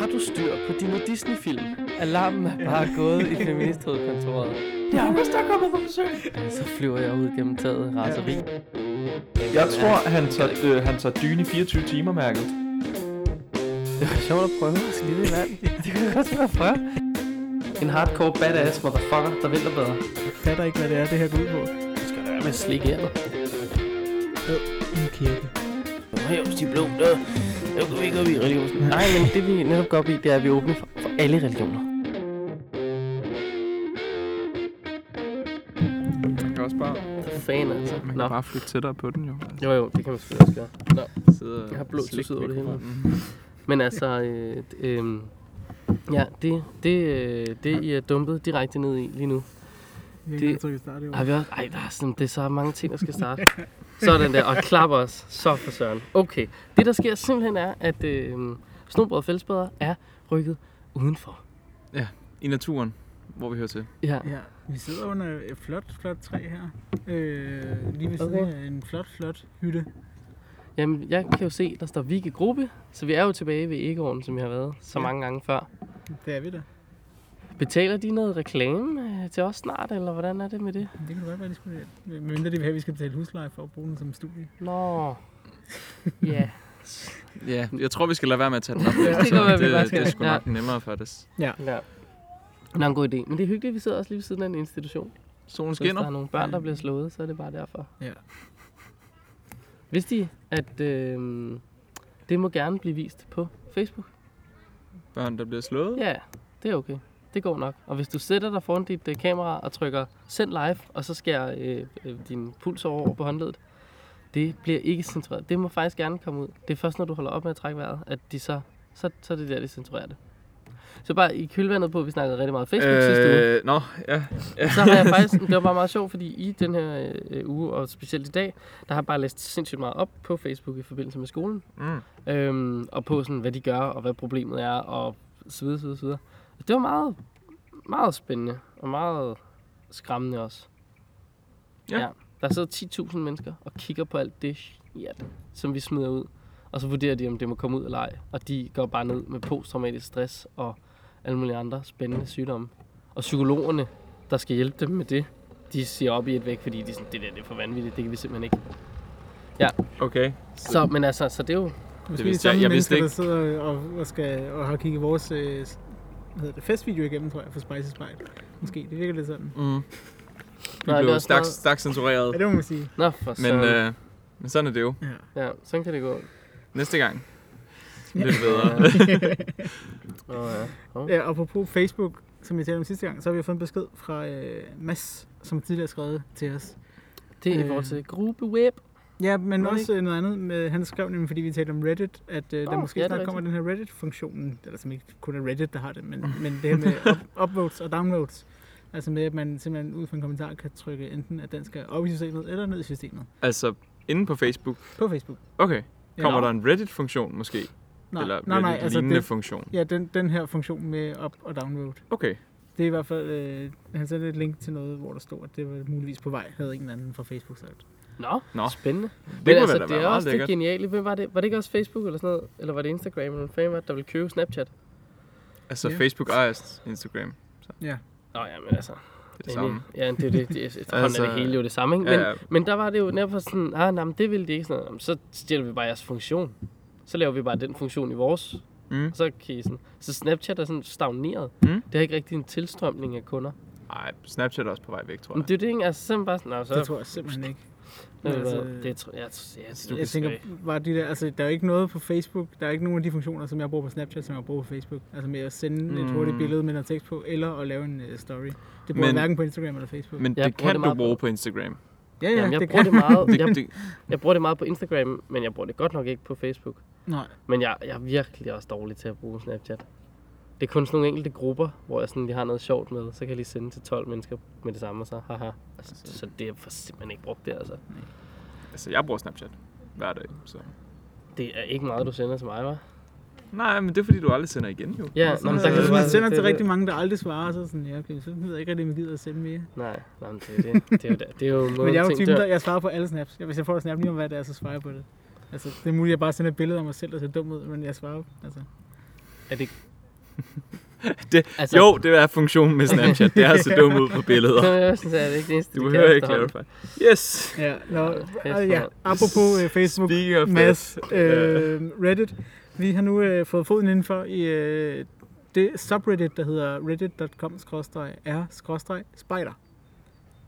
Har du styr på dine Disney-film? Alarmen er bare gået i feministhovedkontoret. Jeg har vist, der er kommet på besøg. Så flyver jeg ud gennem taget i raseri. Jeg tror, han tager, øh, han tager dyne i 24 timer, mærket. Det var sjovt at prøve at skide i vand. Det kunne jeg godt være at prøve. En hardcore badass motherfucker, der vælter bedre. Jeg fatter ikke, hvad det er, det her går ud på. Hvad med slik her? En kirke. Hævs de blå, der. Nu kan vi ikke op i religionen. Nej, men det vi netop går op i, det er, at vi er åbne for, for alle religioner. Man kan også bare, Fan altså. man Nå. kan bare flytte tættere på den, jo. Altså, Jo jo, det kan man selvfølgelig også gøre. Nå. sidde og Jeg har blå slikke tusset over det hele. mikrofonen. Men altså, øh, d- øh, ja, det, det, øh, det I er dumpet direkte ned i lige nu. Jeg Det- kan trykke start i år. Har vi også? Ej, der er, sådan, det er så mange ting, der skal starte. Sådan der, og klap os. Så for søren. Okay, det der sker simpelthen er, at øh, Snobrød og Fællesbæder er rykket udenfor. I naturen, hvor vi hører til. Ja, Ja, vi sidder under et flot, flot træ her. Øh, lige ved siden Okay. af en flot, flot hytte. jamen jeg kan jo se, der står Vigge Gruppe, så vi er jo tilbage ved Egården, som vi har været så Ja. mange gange før. Det er vi da. Betaler de noget reklame øh, til os snart, eller hvordan er det med det? Det kan godt være, de skulle... Mindre de vil have, at vi skal betale husleje for at bruge den som studie. Nå, ja. Yeah. Ja, jeg tror, vi skal lade være med at tage den op. Det kan efter, være, vi bare det, skal- det er sgu ja. nok nemmere for det. Ja. Det er en god idé. Men det er hyggeligt, at vi sidder også lige ved siden af en institution. Solen Så hvis der skinner. er nogle børn, der bliver slået, så er det bare derfor. Ja. Vidste de, at øh, det må gerne blive vist på Facebook? Børn, der bliver slået. Ja, det er okay. Det går nok. Og hvis du sætter dig foran dit øh, kamera og trykker send live, og så skærer øh, øh, din puls over over på håndledet, det bliver ikke censureret. Det må faktisk gerne komme ud. Det er først, når du holder op med at trække vejret, at de så, så, så er det der, de censurerer det. Så bare i kølvandet på, at vi snakkede rigtig meget Facebook øh... sidste uge. Øh, nå, ja. så har jeg faktisk, det var bare meget sjovt, fordi i den her øh, uge, og specielt i dag, der har jeg bare læst sindssygt meget op på Facebook i forbindelse med skolen. Mm. Øhm, og på sådan, hvad de gør, og hvad problemet er, og så videre, så videre, så videre. Og det var meget, meget spændende, og meget skræmmende også. Ja. Der sidder 10.000 mennesker og kigger på alt det shit, som vi smider ud. Og så vurderer de, om det må komme ud eller ej. Og de går bare ned med posttraumatisk stress og alle mulige andre spændende sygdomme. Og psykologerne, der skal hjælpe dem med det, de siger op i et væk, fordi de er sådan, det der det er for vanvittigt, det kan vi simpelthen ikke. Okay. Så, men altså, så det er jo Hvis Det vi er de vidste jeg- samme jeg vidste mennesker, der sidder og, og, skal, og har kigget vores øh, s- hvad hedder det, festvideo igennem, tror jeg, for Spice Spite. Måske, det virker lidt sådan. Mm. Vi Nej, blev det er også meget- stærkt stærk censureret. Ja, det må man sige. Nå, for Men, søren. øh, men sådan er det jo. Ja. Ja, sådan kan det gå. Næste gang. Lidt bedre. Åh, ja. Ja, apropos Facebook, som vi talte om sidste gang, så har vi jo fået en besked fra øh, Mads, som tidligere skrev til os. Det er i Øh. forhold til gruppeweb. Ja, men Nå, også øh, noget andet. Med, han skrev nemlig, fordi vi talte om Reddit, at øh, der Åh, måske ja, det er snart kommer den her Reddit-funktion, eller som ikke kun er Reddit, der har det, men, men det her med up- upvotes og downloads. Altså med, at man simpelthen ud fra en kommentar kan trykke enten, at den skal op i systemet eller ned i systemet altså, inde på Facebook. på Facebook. Okay. Ja. Kommer der en Reddit-funktion måske? Nej, Eller nej, nej, altså lignende det, funktion? ja, den, den her funktion med up og download. Okay. Det er i hvert fald, øh, han sendte et link til noget, hvor der stod, at det var muligvis på vej, havde en eller anden fra Facebook sagt. Nå, Nå. spændende. Det Det Men kunne altså, altså, da det være er meget også det lækkert. geniale. Hvem var det? Var det ikke også Facebook eller sådan noget? Eller var det Instagram eller hvem var det, der ville købe Snapchat? Altså, Ja. Facebook ejer Instagram. Det Nå ja, men altså. er det samme. Ja, det er det. det er, altså, er det Altså, hele jo det samme, ikke? ja, Men, ja. men der var det jo netop sådan, ah, nej, men det ville de ikke. Sådan, "Jamen, så stjæler vi bare jeres funktion. Så laver vi bare den funktion i vores. Mm. Og så, kan I sådan, så Snapchat er sådan stagneret. Mm. Det er ikke rigtig en tilstrømning af kunder. Ej, Snapchat er også på vej væk, tror Men jeg. det er det ikke, altså simpelthen bare sådan, "Nå, så Det tror jeg simpelthen ikke. Men altså, det, det, tror jeg, jeg, jeg, Altså, jeg, jeg tænker, bare de der, altså, der er jo ikke noget på Facebook, der er ikke nogen af de funktioner, som jeg bruger på Snapchat, som jeg bruger på Facebook. Altså med at sende mm. et hurtigt Mm. billede med noget tekst på, eller at lave en uh, story. Det bruger Men- jeg hverken på Instagram eller Facebook. Men Jeg det bruger kan det du meget bruge på Instagram. ja, Jamen, jeg det bruger det meget. Det, Jeg, det, jeg bruger det meget på Instagram, men jeg bruger det godt nok ikke på Facebook. Nej, Men jeg, jeg er virkelig også dårlig til at bruge Snapchat. Det er kun sådan nogle enkelte grupper, hvor jeg sådan lige har noget sjovt med, så kan jeg lige sende til 12 mennesker med det samme, og så haha. Altså, så det er for simpelthen ikke brugt det, altså. altså, jeg bruger Snapchat hver dag. Så. Det er ikke meget, du sender til mig, hva'? Nej, men det er fordi, du aldrig sender igen, jo. Ja, Nå, nå, men så, der øh, kan hvis du man bare... sender det- til det- rigtig mange, der aldrig svarer, så er sådan, ja, okay, så ved jeg ikke rigtig, om jeg gider at sende mere. Nej, nej, men det er det. Det er jo, der, det er jo måden, Men jeg er jo ting typen, dør. der, jeg svarer på alle snaps. Hvis jeg får et snap lige om, hvad det er, så svarer jeg på det. Altså, det er muligt, at jeg bare sender et billede af mig selv, der ser dum ud, men jeg svarer. Altså, Er det Det, altså, jo, det er funktionen med Snapchat. Det er altså så dumt ud på billeder. Det er sådan, at det er ikke det eneste, Du de behøver kan ikke efterhånden. clarify. Yes! Ja, nå, Ja, øh, ja. fedt. apropos øh, Facebook, Speaking of Mads, that, øh, Reddit. Vi har nu øh, fået foden indenfor i øh, det subreddit, der hedder reddit.com-r-spider.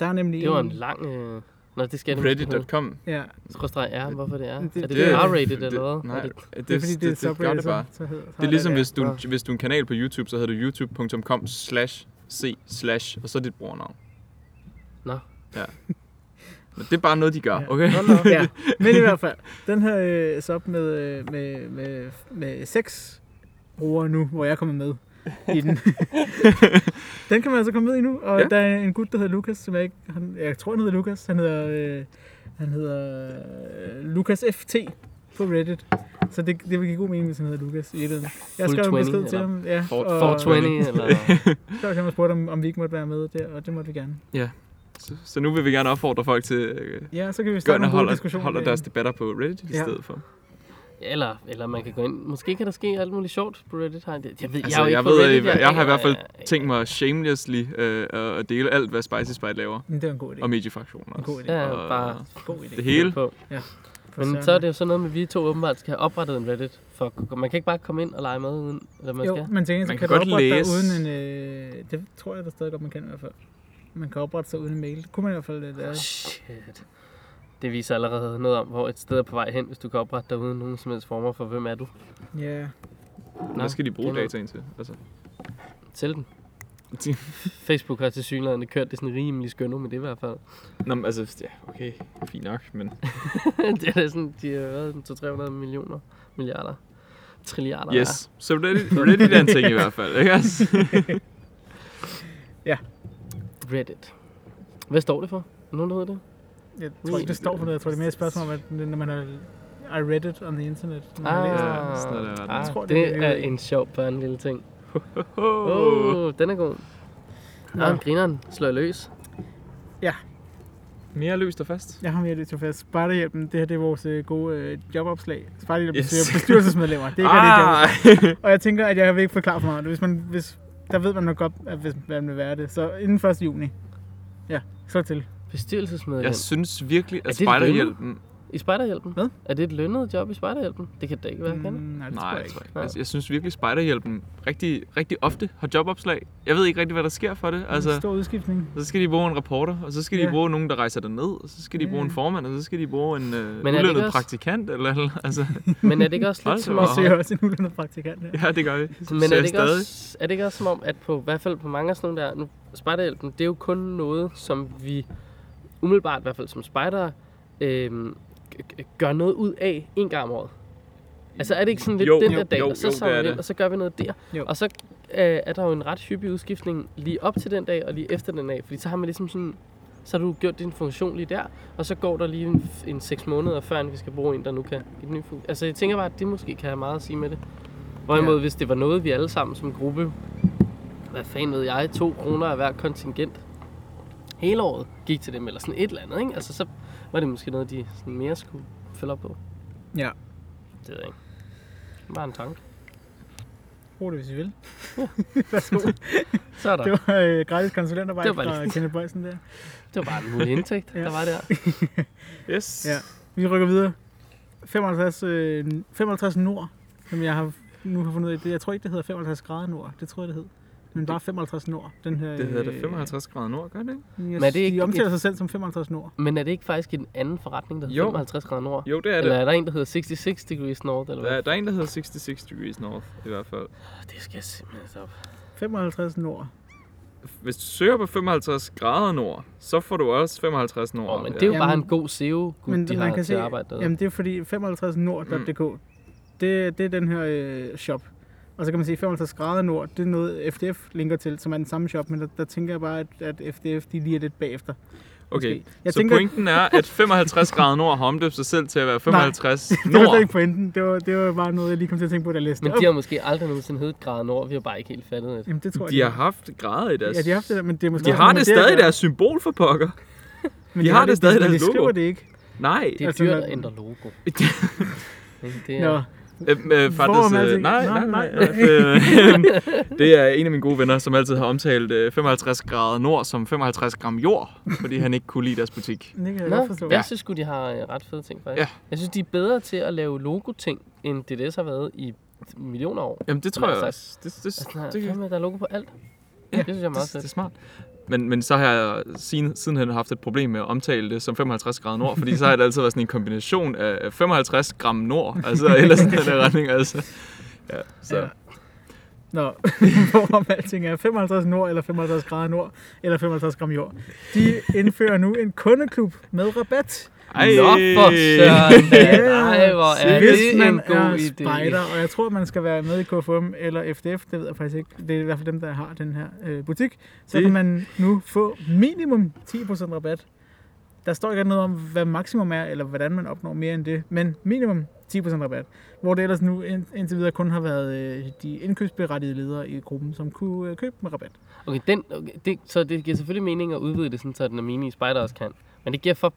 Der er nemlig Det var en lang... Øh... Nå, det skal jeg nemlig ikke huske. Reddit.com. Ja, Skråstreg R, hvorfor det er. Det- er det, det- R-rated eller hvad? Nej, Er det, det, det er fordi, det, er det, det gør subreddit, det så, bare. så hedder så Det er ligesom, der. hvis du, en, hvis du er en kanal på YouTube, så hedder du youtube.com slash c slash, og så dit brugernavn. Nå. Ja. Men det er bare noget, de gør, Ja. okay? Nå, nå. Ja, men i hvert fald, den her øh, sub med, øh, med, med, med seks brugere nu, hvor jeg er kommet med i den. den kan man altså komme med i nu, og Ja. ja. der er en gut, der hedder Lukas, som jeg ikke, han, jeg tror, han hedder Lukas, han hedder, øh, han hedder øh, Lukas FT på Reddit. Så det, det vil give god mening, hvis han hedder Lukas i virkeligheden. Jeg skrev en 420, besked til eller? ham, ja, Fort- og 420 eller... så kan man spurgte, om, om vi ikke måtte være med der, og det måtte vi gerne. Så, så nu vil vi gerne opfordre folk til øh, Ja, så kan vi starte gøre, nogle at gode holder, diskussioner. holder derinde. deres debatter på Reddit i øh. Ja. stedet for. Eller, eller man kan gå ind. Måske kan der ske alt muligt sjovt på Reddit. Har jeg, det- jeg ved, Altså, jeg, er jo jeg, ikke på ved, Reddit, jeg, jeg har i hvert fald jeg- tænkt mig shamelessly øh, at dele alt, hvad Spicy Spite laver, Men det var en god idé. og mediefraktionen En god også. idé. Ja, og- bare God idé. Det hele. på. For Men søren. så er det jo sådan noget med, at vi to åbenbart skal have oprettet en Reddit. For at kunne- man kan ikke bare komme ind og lege med, uden, eller man Jo, skal. man tænker, så Man kan, kan kan godt du oprette dig læse. uden en... Øh, det tror jeg da stadig godt, man kan i hvert fald. Man kan oprette sig uden en mail. Det kunne man i hvert fald. øh, Det, er. Shit. Det viser allerede noget om, hvor et sted er på vej hen, hvis du kan oprette dig uden nogen som helst former for, hvem er du? Ja. Hvad skal de bruge det er dataen til? Altså, Til den. Til- Facebook har til synligheden kørt det sådan rimelig skønne med det i hvert fald. Nå, men altså, ja, okay, fint nok, men... det er da sådan, de har været 200-300 millioner, milliarder, trilliarder. Yes, så Reddit, Reddit er en ting i hvert fald, ikke også? af Reddit. Hvad står det for? Er der Nogen, der ved det? Jeg tror ikke, det står for noget. Jeg tror, det er mere et spørgsmål om, at når man har I read it on the internet. Når man Ah, læser. det. Sådan er det, verden. ah, Jeg tror, tror, det det, er- er en sjov børn lille ting. Oh. Oh, den er god. Nå. Ja. Ah, grineren slår løs. Mere løst og fast. Jeg har mere lidt til fast. Spartahjælpen, det her det er vores øh, gode øh, jobopslag. Spartahjælpen Yes. yes. bestyrelsesmedlemmer. Det er ikke ah. det, ah, job. Og jeg tænker, at jeg vil ikke forklare for meget. Hvis man, hvis, der ved man nok godt, at hvis hvad man vil være det. Så inden 1. juni. Ja, så til. Bestyrelsesmedlem. jeg synes virkelig, Er at det et spejderhjælpen... I spejderhjælpen? Hvad? Er det et lønnet job i spejderhjælpen? Det kan det da ikke være, kan det? Mm, nej, det tror Nej, jeg jeg, ikke. tror ikke. Altså, jeg synes virkelig, at spejderhjælpen rigtig, rigtig ofte har jobopslag. Jeg ved ikke rigtig, hvad der sker for det. Altså, Altså, stor udskiftning. så skal de bruge en reporter, og så skal de Ja. bruge nogen, der rejser derned, og så skal de bruge en formand, og så skal de bruge en øh, det ikke ulønnet også- praktikant. Eller, eller, altså, Men er det ikke også Hold lidt da som op. om, Og søger også en ulønnet praktikant. Ja. ja, det gør vi. men Så er jeg det, ikke også, er det ikke også som om, at på i hvert fald på mange af sådan nogle der, nu, spejderhjælpen, det er jo kun noget, som vi umiddelbart i hvert fald som spejder øh, gør noget ud af en gang om året. Altså er det ikke sådan lidt Jo, den jo, der dag, jo, og så jo, samler det er vi ind, det. og så gør vi noget der. Jo. Og så øh, er der jo en ret hyppig udskiftning lige op til den dag og lige efter den dag, fordi så har man ligesom sådan, så har du gjort din funktion lige der, og så går der lige en, en 6 måneder før, end vi skal bruge en, der nu kan et ny funktion. Altså jeg tænker bare, at det måske kan have meget at sige med det. Hvorimod ja. hvis det var noget, vi alle sammen som gruppe, hvad fanden ved jeg, to kroner af hver kontingent, hele året gik til dem, eller sådan et eller andet, ikke? Altså så var det måske noget, de sådan mere skulle følge op på. Ja. Det ved jeg ikke. Bare en tanke. Brug det, hvis I vil. Så er der. Det Det var, var øh, gratis konsulentarbejde Det var bare fra Kenneth Bøjsen der. det var bare en mulig indtægt, Ja. der var der. Yes. Ja. Vi rykker videre. 55, øh, 55 nord, som jeg har nu har fundet ud af. Det- Jeg tror ikke, det hedder 55 grader nord. Det tror jeg, det hed. Men bare 55 nord. Den her, Det hedder da øh, 55 grader nord, gør det ikke? Jeg, Men er det det ikke ikke de omtaler sig selv som 55 nord. Men er det ikke faktisk en anden forretning, der hedder Jo. 55 grader nord? Jo, det er Eller det. er der en, der hedder 66 degrees north? Eller Der, hvad? er- der er en, der hedder 66 degrees north, i hvert fald. Det skal jeg simpelthen så op. 55 nord. Hvis du søger på 55 grader nord, så får du også 55 nord. Åh, men ja. det er jo Jamen- bare en god SEO, Men de man har kan til se- at arbejde med. Jamen, det er fordi 55nord.dk, mm. det, det er den her øh, shop. Og så kan man sige, 55 grader nord, det er noget, FDF linker til, som er den samme shop, men der, der tænker jeg bare, at, at FDF de lige er lidt bagefter. Okay, måske. jeg Jeg så tænker... tænker- pointen er, at 55 grader nord har omdøbt sig selv til at være 55 Det var slet nord. ikke pointen. Det var, det var bare noget, jeg lige kom til at tænke på, da jeg læste Men det op. de har måske aldrig nogensinde heddet grader nord, vi har bare ikke helt fattet det. Jamen, det tror jeg, De har ikke. haft grader i deres... Ja, de har haft det der, men det er måske... de har det stadig i deres symbol for pokker. Men de har det stadig i men deres de skriver logo. det ikke. Nej, Det er Altså, dyrt når- at ændre logo. Men det Nå, er, Øhm, øh, Hvor faktisk, man øh, tænker, nej, nej, "Nå, nej. nej." øh, det er en af mine gode venner, som altid har omtalt øh, 55 grader nord som 55 gram jord, fordi han ikke kunne lide deres butik. Det kan jeg godt forstå. Nå, jeg synes sgu, de har øh, ret fede ting, faktisk. Ja. Jeg synes, de er bedre til at lave logo-ting, end DDS har været i millioner år. Jamen, det tror jeg Nej, også. Det, det, Altså, det, det det, er der er logo på alt. Ja, Ja, det synes jeg er meget det, det er fedt. smart. Men, men så har jeg siden, sidenhen haft et problem med at omtale det som 55 grader nord, fordi så har det altid været sådan en kombination af 55 gram nord, altså eller sådan en retning, altså. Ja, så. Ja. Nå, hvorom alting er 55 nord, eller 55 grader nord, eller 55 gram jord. De indfører nu en kundeklub med rabat. Ej, Nå, for søren. da. Ja, Ej, hvor er Hvis det man en god er idé. spider, og jeg tror, man skal være med i KFM eller FDF, det ved jeg faktisk ikke. Det er i hvert fald dem, der har den her øh, butik. Så Det- det. kan man nu få minimum 10% rabat. Der står ikke noget om, hvad maksimum er, eller hvordan man opnår mere end det, men minimum 10% rabat. Hvor det ellers nu ind, indtil videre kun har været øh, de indkøbsberettigede ledere i gruppen, som kunne øh, købe med rabat. Okay, den, okay, det, så det giver selvfølgelig mening at udvide det, sådan, så den er mini spider også kan. Men det giver for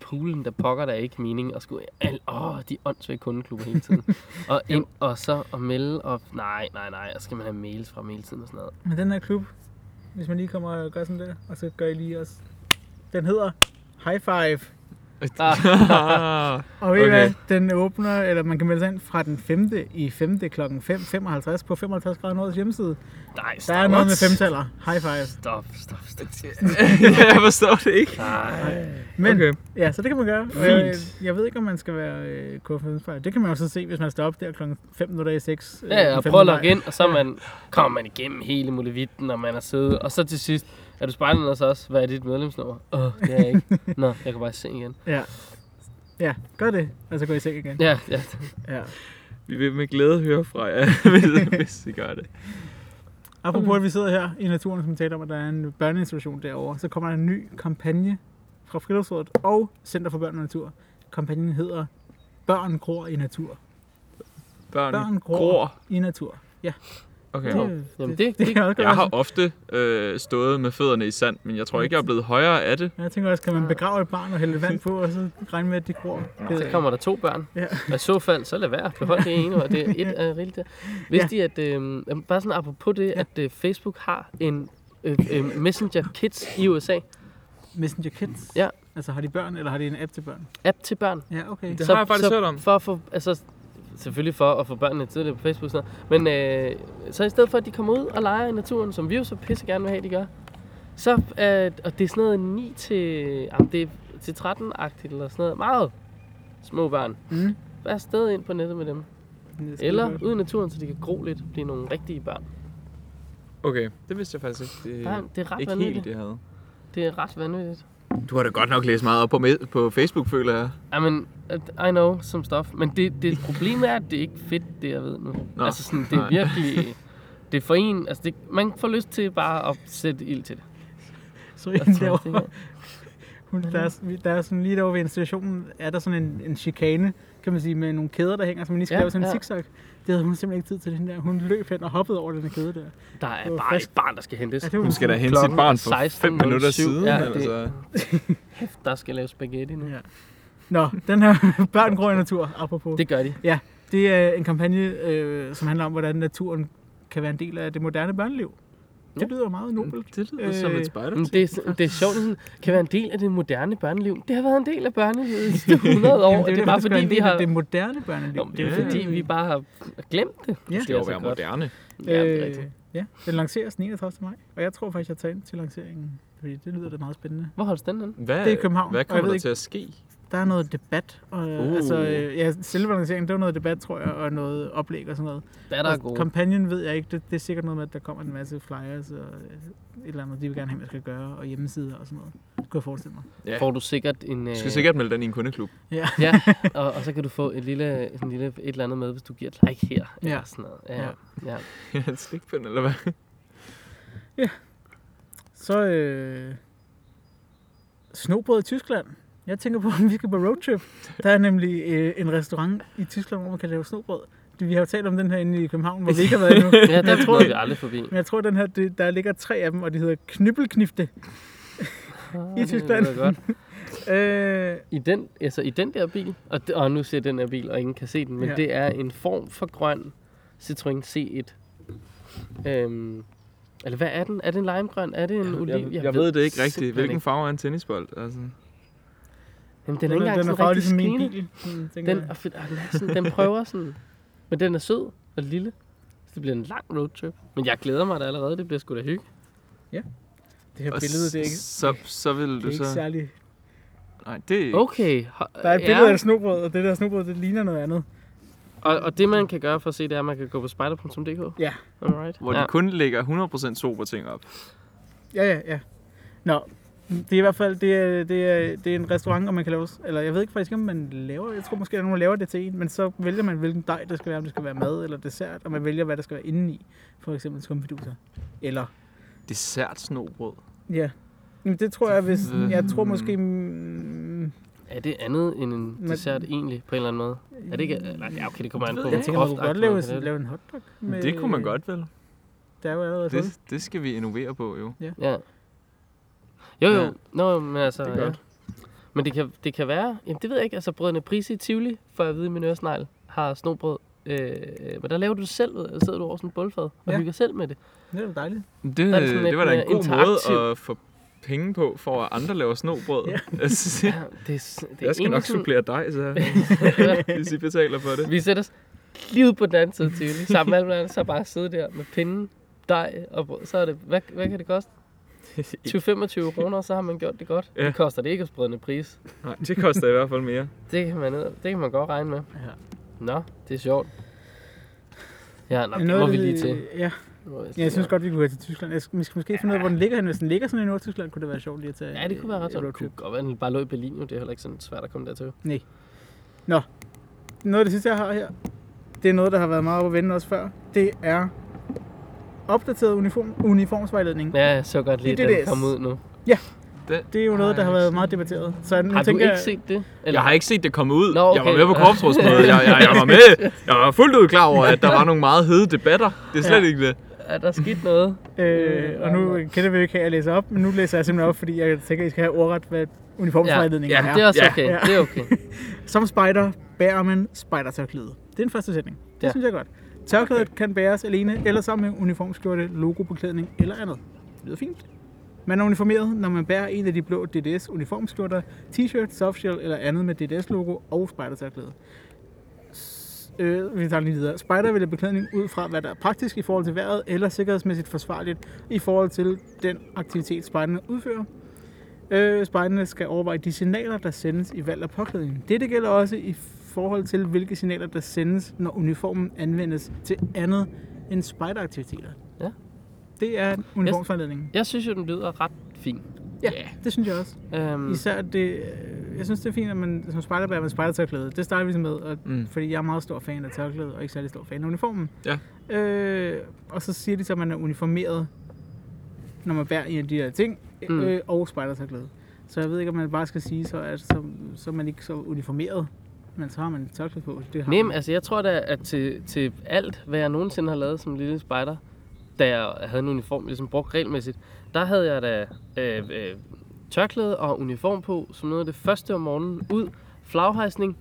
poolen, der pokker der ikke mening at skulle... Al, åh, de åndssvage kundeklubber hele tiden. og ind, og så og melde, og nej, nej, nej, og så skal man have mails fra dem hele tiden og sådan noget. Men den her klub, hvis man lige kommer og gør sådan der, og så gør I lige også. Den hedder High Five. Ah, Og ved okay. Okay. hvad, den åbner, eller man kan melde sig ind fra den 5. i 5. kl. 5.55 på 55 grader Nords hjemmeside. Nej, Der stop, er noget med femtaller. High five. stop, stop, stop. stop. jeg forstår det ikke. Nej. Men okay. Okay. ja, så det kan man gøre. Og Jeg, jeg ved ikke, om man skal være øh, KFM-spejler. Det kan man også se, hvis man står op der kl. 5 minutter i øh, 6. Ja, ja, og prøv at logge ind, og så er man, kommer man igennem hele mulevitten, og man er siddet. Og så til sidst, er du spejlet os også? Hvad er dit medlemsnummer? Åh, oh, det er jeg ikke. Nå, jeg kan bare se igen. Ja. ja, gør det, og så går I i seng igen. Ja, ja. Ja. Vi vil med glæde høre fra jer, hvis, hvis I gør det. Apropos, at vi sidder her i naturen, som taler om, at der er en børneinstitution derovre, så kommer der en ny kampagne fra Friluftsrådet og Center for Børn og Natur. Kampagnen hedder Børn gror i natur. Børn, Børn gror, gror. i natur. Ja, Okay. Jamen, det, det det, kan også Jeg godt har være. ofte øh, stået med fødderne i sand, men jeg tror ikke, jeg er blevet højere af det. Jeg tænker også, kan man begrave et barn og hælde vand på, og så regne med, at de gror? Det, Så kommer der to børn. Ja. Og i så fald, så lad være. Behold det ene, og det er et af rigeligt der. Vidste ja. I, at... Øh, jamen, bare sådan apropos det, at øh, Facebook har en øh, øh, Messenger Kids i USA. Messenger Kids? Ja. Altså har de børn, eller har de en app til børn? App til børn. Ja, okay. Det har jeg faktisk hørt om. For at få, altså, selvfølgelig for at få børnene tidligere på Facebook og sådan noget. Men øh, så i stedet for, at de kommer ud og leger i naturen, som vi jo så pisse gerne vil have, de gør, så er, og det er sådan noget 9 til, jamen, det er til 13-agtigt eller sådan noget. Meget små børn. Mm. Vær afsted ind på nettet med dem. Eller ude i naturen, så de kan gro lidt blive nogle rigtige børn. Okay, det vidste jeg faktisk ikke. Det, Nej, det er ret ikke helt, vanvittigt. det havde. Det er ret vanvittigt. Du har da godt nok læst meget op på, med, på Facebook, føler jeg. I mean, I know som stof. Men det, det problemet er, at det er ikke fedt, det jeg ved nu. Nå, Nå, altså sådan, det er nej. virkelig... Det er for en, altså det, man får lyst til bare at sætte ild til det. Altså, Så en derovre, hun, der, er, der er sådan lige derovre ved institutionen, er der sådan en, en chikane, kan man sige, med nogle kæder, der hænger, så man lige skal Ja, ja, lave sådan en ja. ja. zigzag. Det havde hun simpelthen ikke tid til, den der. Hun løb hen og hoppede over den her kæde der. Der er var bare frisk. et barn, der skal hentes. Ja, det var Hun skal da hente sit Klokken barn for 16.07. 5 minutter siden. altså. Ja, Ja, eller det- så. Hæft, der skal laves spaghetti nu. Ja. Nå, den her børn gror i natur, apropos. Det gør de. Det er en kampagne, øh, som handler om, hvordan naturen kan være en del af det moderne børneliv. Det Ja. Mm. lyder meget nobelt. Det lyder øh, som Øh, et spider. Men det, er- det er sjovt, sådan, kan være en del af det moderne børneliv. Det har været en del af børnelivet i 100 år, Jamen, og det er bare derfor, der skal fordi, være en vi del af har... Det moderne børneliv. Nå, men det er Ja. fordi, vi bare har glemt det. Ja. Øh, Det skal jo være moderne. Ja, det er rigtigt. ja, den lanceres 39. maj, og jeg tror faktisk, jeg tager ind til lanceringen, fordi det lyder da meget spændende. Hvor holdes den henne? Hvad, Det er København, Hvad og jeg kommer ved der ikke- til at ske? Der er noget debat, og Uh. uh. altså, øh, ja, selve lanceringen, det var noget debat, tror jeg, og noget oplæg og sådan noget. Der er der og gode. kampagnen ved jeg ikke, det, det er sikkert noget med, at der kommer en masse flyers og øh, et eller andet, de vil gerne have, man skal gøre, og hjemmesider og sådan noget. Det kunne jeg forestille mig. Ja. Får du sikkert en... øh, Du skal sikkert melde den i en kundeklub. Ja. Ja, og, og, så kan du få et lille, sådan en lille et eller andet med, hvis du giver et like her. Ja. Eller sådan noget. Ja, Ja. ja. ja. Ja, en slikpind, eller hvad? Så øh, snobrød i Tyskland. Jeg tænker på, om vi skal på roadtrip. Der er nemlig øh, en restaurant i Tyskland, hvor man kan lave snobrød. Det- Vi har jo talt om den her inde i København, hvor vi ikke har været endnu. ja Men jeg der tror- tror Ah, vi aldrig forbi. Men jeg tror, den her, Øh, det, der ligger tre af dem, og de hedder knyppelknifte. Ah, I det Tyskland. lyder godt. Øh, I den, altså i den der bil, og, det, og nu ser jeg den her bil, og ingen kan se den, men Ja. ja. det er en form for grøn Citroën C1. Øhm, eller hvad er den? Er det en limegrøn? Er det en oliv? Jeg, jeg, jeg ved det ikke rigtigt. simpelthen Hvilken ikke. farve er en tennisbold? Altså. Jamen, den er ikke engang den er sådan farvet rigtig ligesom min skinnende. bil. sådan tænker Den, jeg. er, fedt, og den, er sådan, den prøver sådan, men den er sød og lille. Så det bliver en lang roadtrip. Men jeg glæder mig da allerede, det bliver sgu da hygge. Det her Og billede, det er ikke, så, så vil det du er ikke så... særlig... Nej, det er Okay. ho- Der er et billede af ja. et snobrød, og det der snobrød, det ligner noget andet. og, og det man kan gøre for at se, det er, at man kan gå på spider.dk. Ja. Alright. hvor de kun lægger 100% sober ting op. Ja, ja, ja. Nå, det er i hvert fald det er, det er, det er en restaurant, og man kan lave... Eller jeg ved ikke faktisk, om man laver... Jeg tror måske, der er nogen, der laver det til en, men så vælger man, hvilken dej det skal være, om det skal være mad eller dessert, og man vælger, hvad der skal være indeni. For eksempel skumfiduser. Eller... Dessert snobrød. Ja. Jamen, det tror jeg, hvis... Øh, Jeg tror måske... mm, Er det andet end en Men- dessert egentlig, på en eller anden måde? Er det ikke... Nej, ja, okay, det kommer an på, Jeg tænker, man kunne godt lave, sådan- lave en hotdog. Men det kunne man godt vel. Der er jo allerede sådan. Det, det skal vi innovere på jo. Ja. Jo, jo. Ja. Ja. Nå, men altså... Det er godt. Ja. Men det kan, det kan være... Jamen, det ved jeg ikke. Altså, brødrene Prisi i Tivoli, for at vide, min øresnegl har snobrød. Øh, men der laver du det selv, ved, du. sidder du over sådan en bålfad og Ja. ja. hygger selv med det. Det er jo dejligt. Det, er det sådan det lidt var da en mere god måde interaktiv. at få penge på, for at andre laver snobrød. Altså, Ja, det, er s- det er jeg skal egentlig nok sådan- supplere dig, så, hvis I betaler for det. Vi sætter os lige ud på den anden side af Tivoli, sammen med alle mulige andre, så bare sidde der med pinden, dej og brød. Så er det, hvad, hvad kan det koste? 20-25 kroner, så har man gjort det godt. Ja. Ja. Det koster det ikke at sprede en pris. Nej, det koster i hvert fald mere. Det kan man, det kan man godt regne med. Ja. Nå, det er sjovt. Ja, nå, det må vi lige til. Ja, øh, Ja, jeg synes godt, vi kunne gå til Tyskland. Jeg skal, vi skal måske finde ud af, hvor den ligger henne. Hvis den ligger sådan i Nordtyskland, kunne det være sjovt lige at tage Ja, det kunne være ret en sjovt. Det kunne roadtrip. godt være, den bare lå i Berlin, jo. Det er heller ikke sådan svært at komme dertil. Noget af det sidste, jeg har her, det er noget, der har været meget op at vende også før. Det er opdateret uniform, uniformsvejledning. Ja, jeg så godt lige, at Det er den DDS. kom ud nu. Det er jo noget, der har været meget debatteret. Så nu Har du tænker ikke jeg, set det? Jeg har ikke set det komme ud. Nå, Jeg var okay. med på korpsrådsmødet. Jeg, jeg, jeg, var med. Jeg var fuldt ud klar over, at der var nogle meget hede debatter. Det er slet Ja. ikke det. Er der sket noget? Øh, og nu kender vi jo ikke, at jeg læser op, men nu læser jeg simpelthen op, fordi jeg tænker, at I skal have ordret, hvad uniformsvejledningen Ja, er. Det er også Ja. okay. Ja. Det er okay. Som spejder bærer man spejdertørklæde. Det er den første sætning. Det Ja. synes jeg er godt. Tørklædet okay. kan bæres alene eller sammen med uniformskjorte, logobeklædning eller andet. Det lyder fint. Man er uniformeret, når man bærer en af de blå DDS uniformskjorter, t-shirt, softshell eller andet med DDS logo og spejdertørklæde. S- Øh, vi tager den lige videre. Spejder vælger beklædning ud fra, hvad der er praktisk i forhold til vejret eller sikkerhedsmæssigt forsvarligt i forhold til den aktivitet, spejderne udfører. Øh, spejderne skal overveje de signaler, der sendes i valg af påklædning. Dette gælder også i forhold til, hvilke signaler, der sendes, når uniformen anvendes til andet end spejderaktiviteter. Ja. Det er uniformsvejledningen. Jeg synes jo, den lyder ret fin. Ja, det synes jeg også. Mm. Øhm, Især det, øh, jeg synes det er fint, at man som spejder bærer man spejdertørklæde. Det starter vi med, og, mm. Mm. fordi jeg er meget stor fan af tørklæde, og ikke særlig stor fan af uniformen. Ja. Øh, og så siger de så, at man er uniformeret, når man bærer en af de her ting, mm. Mm. øh, og spejdertørklæde. Så jeg ved ikke, om man bare skal sige, så, at så, så er man ikke så uniformeret, men så har man et tørklæde på. Det har Nem, man. altså jeg tror da, at til, til alt, hvad jeg nogensinde har lavet som lille spejder, da jeg havde en uniform, ligesom brugt regelmæssigt, der havde jeg da øh, øh, tørklæde og uniform på, som noget af det første om morgenen, ud, flaghejsning,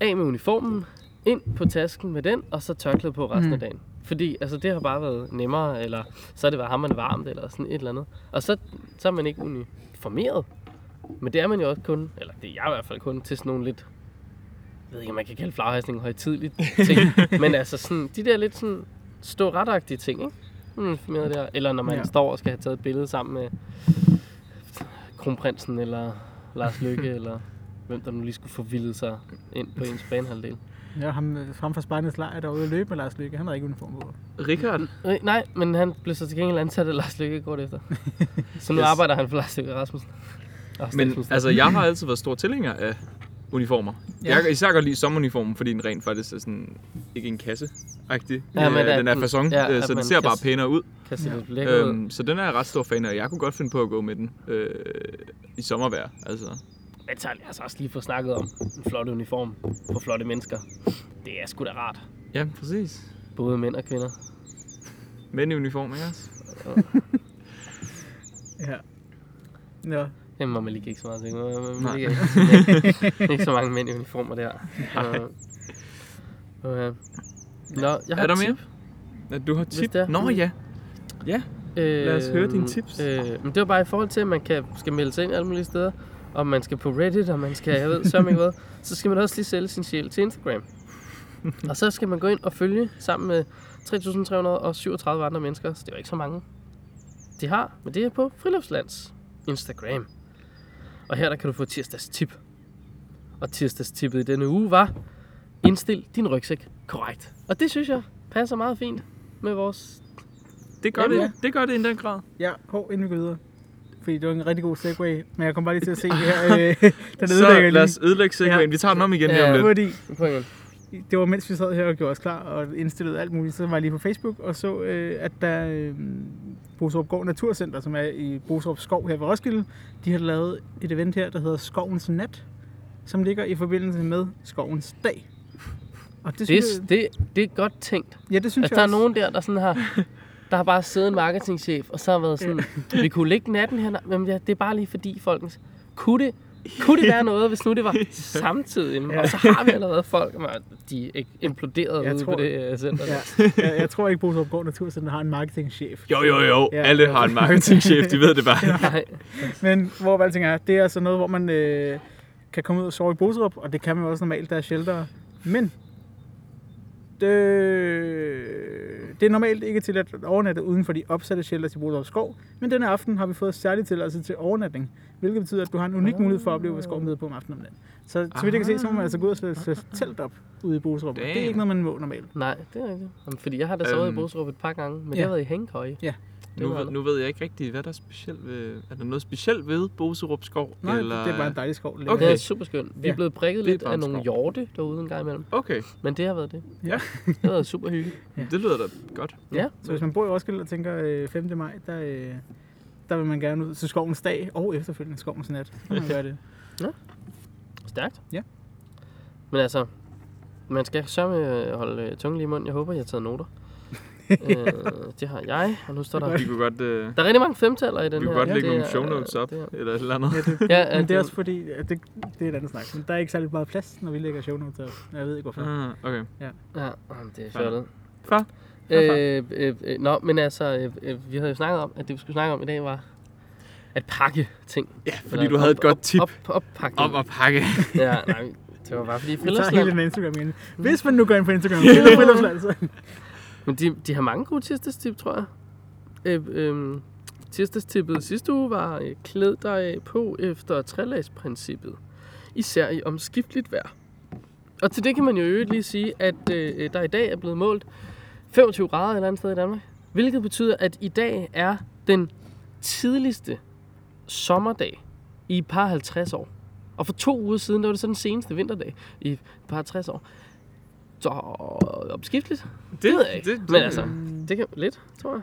af med uniformen, ind på tasken med den, og så tørklæde på resten Mm. mm. af dagen. Fordi altså, det har bare været nemmere, eller så er det bare hammerne varmt, eller sådan et eller andet. Og så, så er man ikke uniformeret. Men det er man jo også kun, eller det er jeg i hvert fald kun, til sådan nogle lidt, jeg ved ikke, om man kan kalde flaghejsning højtidligt ting. men altså sådan, de der lidt sådan stå retagtige ting, ikke? Uniformeret der. Eller når man Ja. ja. står og skal have taget et billede sammen med kronprinsen, eller Lars Lykke, eller hvem der nu lige skulle forvilde sig ind på ens banehalvdel. Jeg har ham øh, frem for spejdernes lejr derude og løbe med Lars Lykke. Han har ikke uniform på. Richard, Øh, Nej, men han blev så til gengæld ansat af Lars Lykke kort efter. Så nu yes. Yes. arbejder han for Lars Lykke Rasmussen. Og Men statsminister. altså, jeg har altid været stor tilhænger af uniformer. Ja. Ja. Jeg kan især godt lide sommeruniformen, fordi den rent faktisk er sådan, ikke en kasse-agtig. Ja, Øh, men at den er den- fason, ja, ja, at så den man ser kan bare s- pænere ud. kan se Ja. lidt lækker ud. Øhm, så den er jeg ret stor fan af. Jeg kunne godt finde på at gå med den øh, i sommervejr. Altså. Men så har jeg altså også lige fået snakket om en flot uniform på flotte mennesker. Det er sgu da rart. Ja, præcis. Både mænd og kvinder. Mænd i uniform, ikke også? Ja. Nå, Jamen, må man ligger ikke så meget. tænker jeg. Man- man- Man Nej. ligger ikke, sådan, ikke, ikke så mange mænd i uniformer der. Øh, øh, Nå, jeg har Er der et mere? tip. Ja, du har tip. det er. Nå ja. Lad os høre dine Øhm, tips. Øh, men det var bare i forhold til, at man kan, skal melde sig ind alle mulige steder, og man skal på Reddit, og man skal, jeg ved, så ikke hvad, så skal man også lige sælge sin sjæl til Instagram. og så skal man gå ind og følge sammen med 3.337 andre mennesker, så det var ikke så mange. De har, men det er på Friluftslands Instagram. Og her der kan du få tirsdags tip. Og tirsdags tippet i denne uge var, indstil din rygsæk korrekt. Og det synes jeg passer meget fint med vores Det gør Jamen, det. Det gør det i den grad. Ja, hov, inden vi går videre. Fordi det var en rigtig god segue, men jeg kom bare lige til at se det her. Øh, den Så ødelægger lad lige. os ødelægge segwayen. Vi tager den om igen lige Ja. om lidt. Fordi pointe. det var mens vi sad her og gjorde os klar og indstillede alt muligt, så var jeg lige på Facebook og så, øh, at der øh, Boserup Gård Naturcenter, som er i Boserup Skov her ved Roskilde, de har lavet et event her, der hedder Skovens Nat, som ligger i forbindelse med Skovens Dag. Og det, Det, synes jeg, det, det er godt tænkt. ja, det synes Altså, jeg der er også. nogen der, der sådan har, der har bare siddet en marketingchef, og så har været sådan, vi kunne lægge natten her, men ja, det er bare lige fordi, folkens, kunne det, kunne det være noget, hvis nu det var samtidig, Ja. og så har vi allerede folk, og de er imploderet Jeg ude tror- på det uh, center. Ja. Ja, jeg, jeg tror ikke, Boserup Gård Naturcenter har en marketingchef. Jo, jo, jo. Ja. Alle har en marketingchef, de ved det bare. Nej, Men hvor alting er, det er altså noget, hvor man øh, kan komme ud og sove i Boserup, og det kan man jo også normalt, der er shelter. Men det, det er normalt ikke tilladt at overnatte uden for de opsatte shelters i Boserup Skov, men denne aften har vi fået særlig tilladelse til overnatning, hvilket betyder, at du har en Ah. unik mulighed for at opleve, hvad skoven byder på om aftenen om natten. Så så vidt jeg kan se, så må man altså gå ud og sætte sætte telt op ude i Boserup. og Det er Damn. ikke noget, man må normalt. nej, det er rigtigt. Jamen, Fordi jeg har da sovet Øhm. i Boserup et par gange, men ja. Ja. det har været i Hængkøje. Nu, var ved- der. nu ved jeg ikke rigtigt, hvad der er specielt ved... Er der noget specielt ved Boserup Skov? Nej, Eller... det er bare en dejlig skov. Okay. Det er super skønt. Vi er Ja. blevet prikket Det er lidt bare af en nogle skov. hjorte derude en gang imellem, Okay, men det har været det. Ja. Det har været super hyggeligt. det lyder da godt. Ja. Så hvis man bor i Roskilde og tænker øh, 5. maj, der, øh, der vil man gerne ud til skovens dag og efterfølgende skovens nat. Så kan man gøre det. Stærkt. Ja. Men altså, man skal sørme øh, holde øh, tungen lige i munden. Jeg håber, jeg har taget noter. øh, det har jeg, og nu står der... Vi kunne godt, øh, Der er rigtig mange femtaller i den vi her. kunne godt Ja, lægge det nogle er- show notes op, det er- eller et eller andet. Ja, det, Ja, ja, men det er også fordi, at det, det er et andet snak, men der er ikke særlig meget plads, når vi lægger show notes op. Jeg ved ikke hvorfor. Ah, okay. Ja, jamen, det er Fair. fjollet. Fair. Øh, øh, øh, nå, men altså, øh, øh, vi havde jo snakket om, at det vi skulle snakke om i dag var at pakke ting. Ja, fordi du havde et godt tip Op, op, oppakke. om at pakke. Ja, nej, det var bare fordi Vi tager hele Friluftsland, den Instagram igen. Mm. Hvis man nu går ind på Instagram, så er friluftsland, så. Men de, de har mange gode tirsdagstip, tror jeg. Øh, øh, tirsdagstippet sidste uge var, øh, klæd dig på efter trælagsprincippet. Især i omskifteligt vejr. Og til det kan man jo i øvrigt lige sige, at øh, der i dag er blevet målt 25 grader et eller andet sted i Danmark. Hvilket betyder, at i dag er den tidligste sommerdag i et par 50 år. Og for to uger siden, der var det så den seneste vinterdag i et par 60 år. Så omskifteligt. Det ved jeg ikke. Det, Men altså, det kan lidt, tror jeg.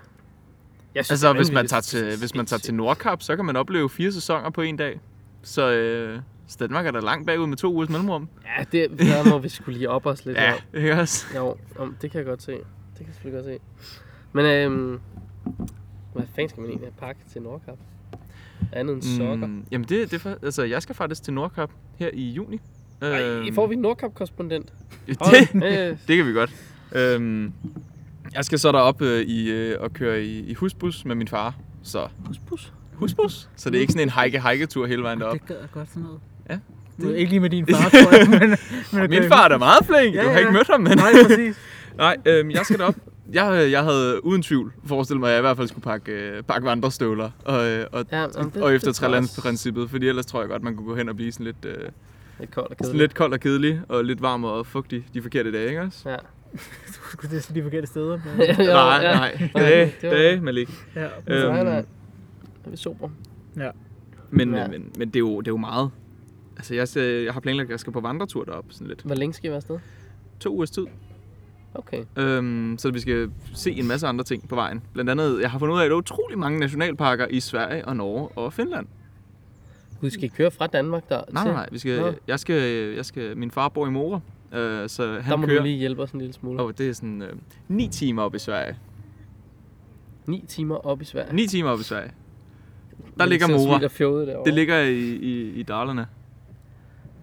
jeg altså hvis man tager til, hvis man tager til Nordkap, så kan man opleve fire sæsoner på en dag. Så øh, så Danmark er der langt bagud med to ugers mellemrum. Ja, det, der må vi skulle lige op os lidt. Ja, her. ikke også? Jo, om, det kan jeg godt se. Det kan jeg selvfølgelig godt se. Men øhm, hvad fanden skal man egentlig have pakket til Nordkap? Andet end sokker. Mm. Mm, jamen det, det er for, altså, jeg skal faktisk til Nordkap her i juni. Ej, Øhm, får vi en Nordkap-korrespondent? det, øh, Det kan vi godt. Øhm, jeg skal så derop øh, i, øh, og køre i, i husbus med min far. Så husbus. husbus? Så det er ikke sådan en hike-hike-tur hele vejen derop. Det gad jeg godt sådan noget. Ja. Det er ikke lige med din far, tror jeg. Men, men okay. Min far er da meget flink. Ja, Du har ja. ikke mødt ham, men... Nej, præcis. Nej, øhm, jeg skal derop. Jeg, øh, jeg havde uden tvivl forestillet mig, at jeg i hvert fald skulle pakke, øh, pakke vandrestøvler og, øh, og, Ja, om det, og efter det tror jeg også. trælandsprincippet, fordi ellers tror jeg godt, man kunne gå hen og blive sådan lidt, øh, Lidt koldt og sådan kedeligt. lidt kold og kedelig, og lidt varm og fugtig de forkerte dage, ikke også? Ja. Skulle det er så de forkerte steder. Men, Jo, nej, ja. nej. Dage, det var- dage, Malik. ja. Øhm, Nej, nej. Det er vi sober. Men, Ja. ja. men, men det, er jo, det er jo meget. Altså, jeg, skal- jeg har planlagt, at jeg skal på vandretur derop sådan lidt. Hvor længe skal I være afsted? To ugers tid. Okay. Øhm, så vi skal se en masse andre ting på vejen. Blandt andet, jeg har fundet ud af, at der er utrolig mange nationalparker i Sverige og Norge og Finland. Gud, skal I køre fra Danmark der? Nej, til? nej, nej. Vi skal, Nå. jeg skal, jeg skal, min far bor i Mora, øh, så han Der må kører. du lige hjælpe os en lille smule. Og det er sådan øh, 9 timer op i Sverige. 9 timer op i Sverige. 9 timer op i Sverige. Der ligger Mora. Det derovre. Det ligger i, i, i Dalarna.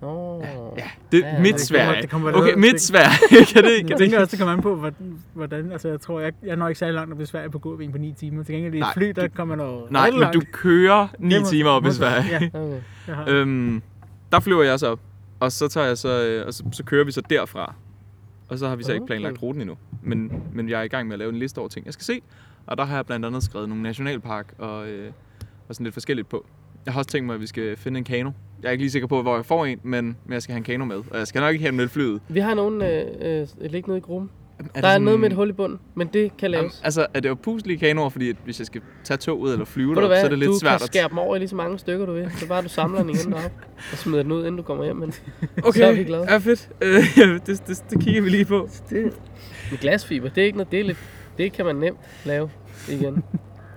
Nå. Det, Ja, ja, ja, ja, midt Sverige. det kommer- det kommer- Okay, det- midt Sverige. kan det, Jeg kan det, tænker også, det kommer an på, hvordan- hvordan... Altså, jeg tror, jeg, jeg når ikke særlig langt op i Sverige på gåben på 9 timer. Til gengæld i Nej, fly, der du- kommer noget nej, men du kører 9 timer op i Sverige. Ja, Okay. jeg har. Øhm, der flyver jeg så op, og så tager jeg så, øh, og så, så kører vi så derfra. Og så har vi så ikke Okay. planlagt ruten endnu. Men, men jeg er i gang med at lave en liste over ting, jeg skal se. Og der har jeg blandt andet skrevet nogle nationalpark og, øh, og sådan lidt forskelligt på. Jeg har også tænkt mig, at vi skal finde en kano. Jeg er ikke lige sikker på, hvor jeg får en, men, men jeg skal have en kano med. Og jeg skal nok ikke have den med flyet. Vi har nogen øh, øh, liggende i gruppen. Er Der er noget med et hul i bunden, men det kan Jamen, laves. altså, er det opuslige kanoer? Fordi at hvis jeg skal tage toget eller flyve Ved du derop, hvad, så er det lidt du svært kan at... skære dem over i lige så mange stykker, du vil. Så bare du samler den igen op og smider den ud, inden du kommer hjem. Men Okay, Så er vi glade. ja, fedt. Øh, det, det, det, kigger vi lige på. med glasfiber, det er ikke noget, det, er lidt, det kan man nemt lave igen.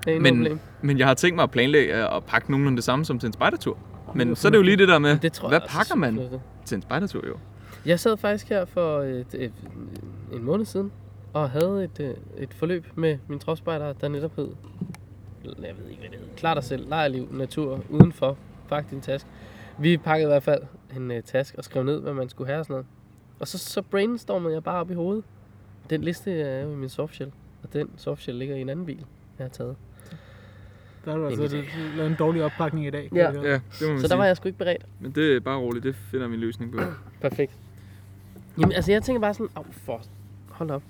Det er Men- men, problem. Men jeg har tænkt mig at planlægge øh, at pakke nogenlunde det samme som til en spejdertur. Men så er det jo lige det der med, Det tror hvad jeg, altså, pakker man synes jeg, til en spejdertur jo? Jeg sad faktisk her for et, et, en måned siden og havde et, øh, et forløb med min tropspejder, der netop hed, jeg ved ikke hvad det hed, klar dig selv, lejerliv, natur, udenfor, pak din task. Vi pakkede i hvert fald en uh, task og skrev ned, hvad man skulle have og sådan noget. Og så, så brainstormede jeg bare op i hovedet. Den liste er jo i min softshell, og den softshell ligger i en anden bil, jeg har taget. Der har du altså Ingen lavet en dårlig oppakning i dag. kan Ja. jeg høre. det må man Så der var jeg sgu ikke beredt. Men det er bare roligt, det finder vi en løsning på. Perfekt. Jamen, altså, jeg tænker bare sådan... Au, for... Hold op.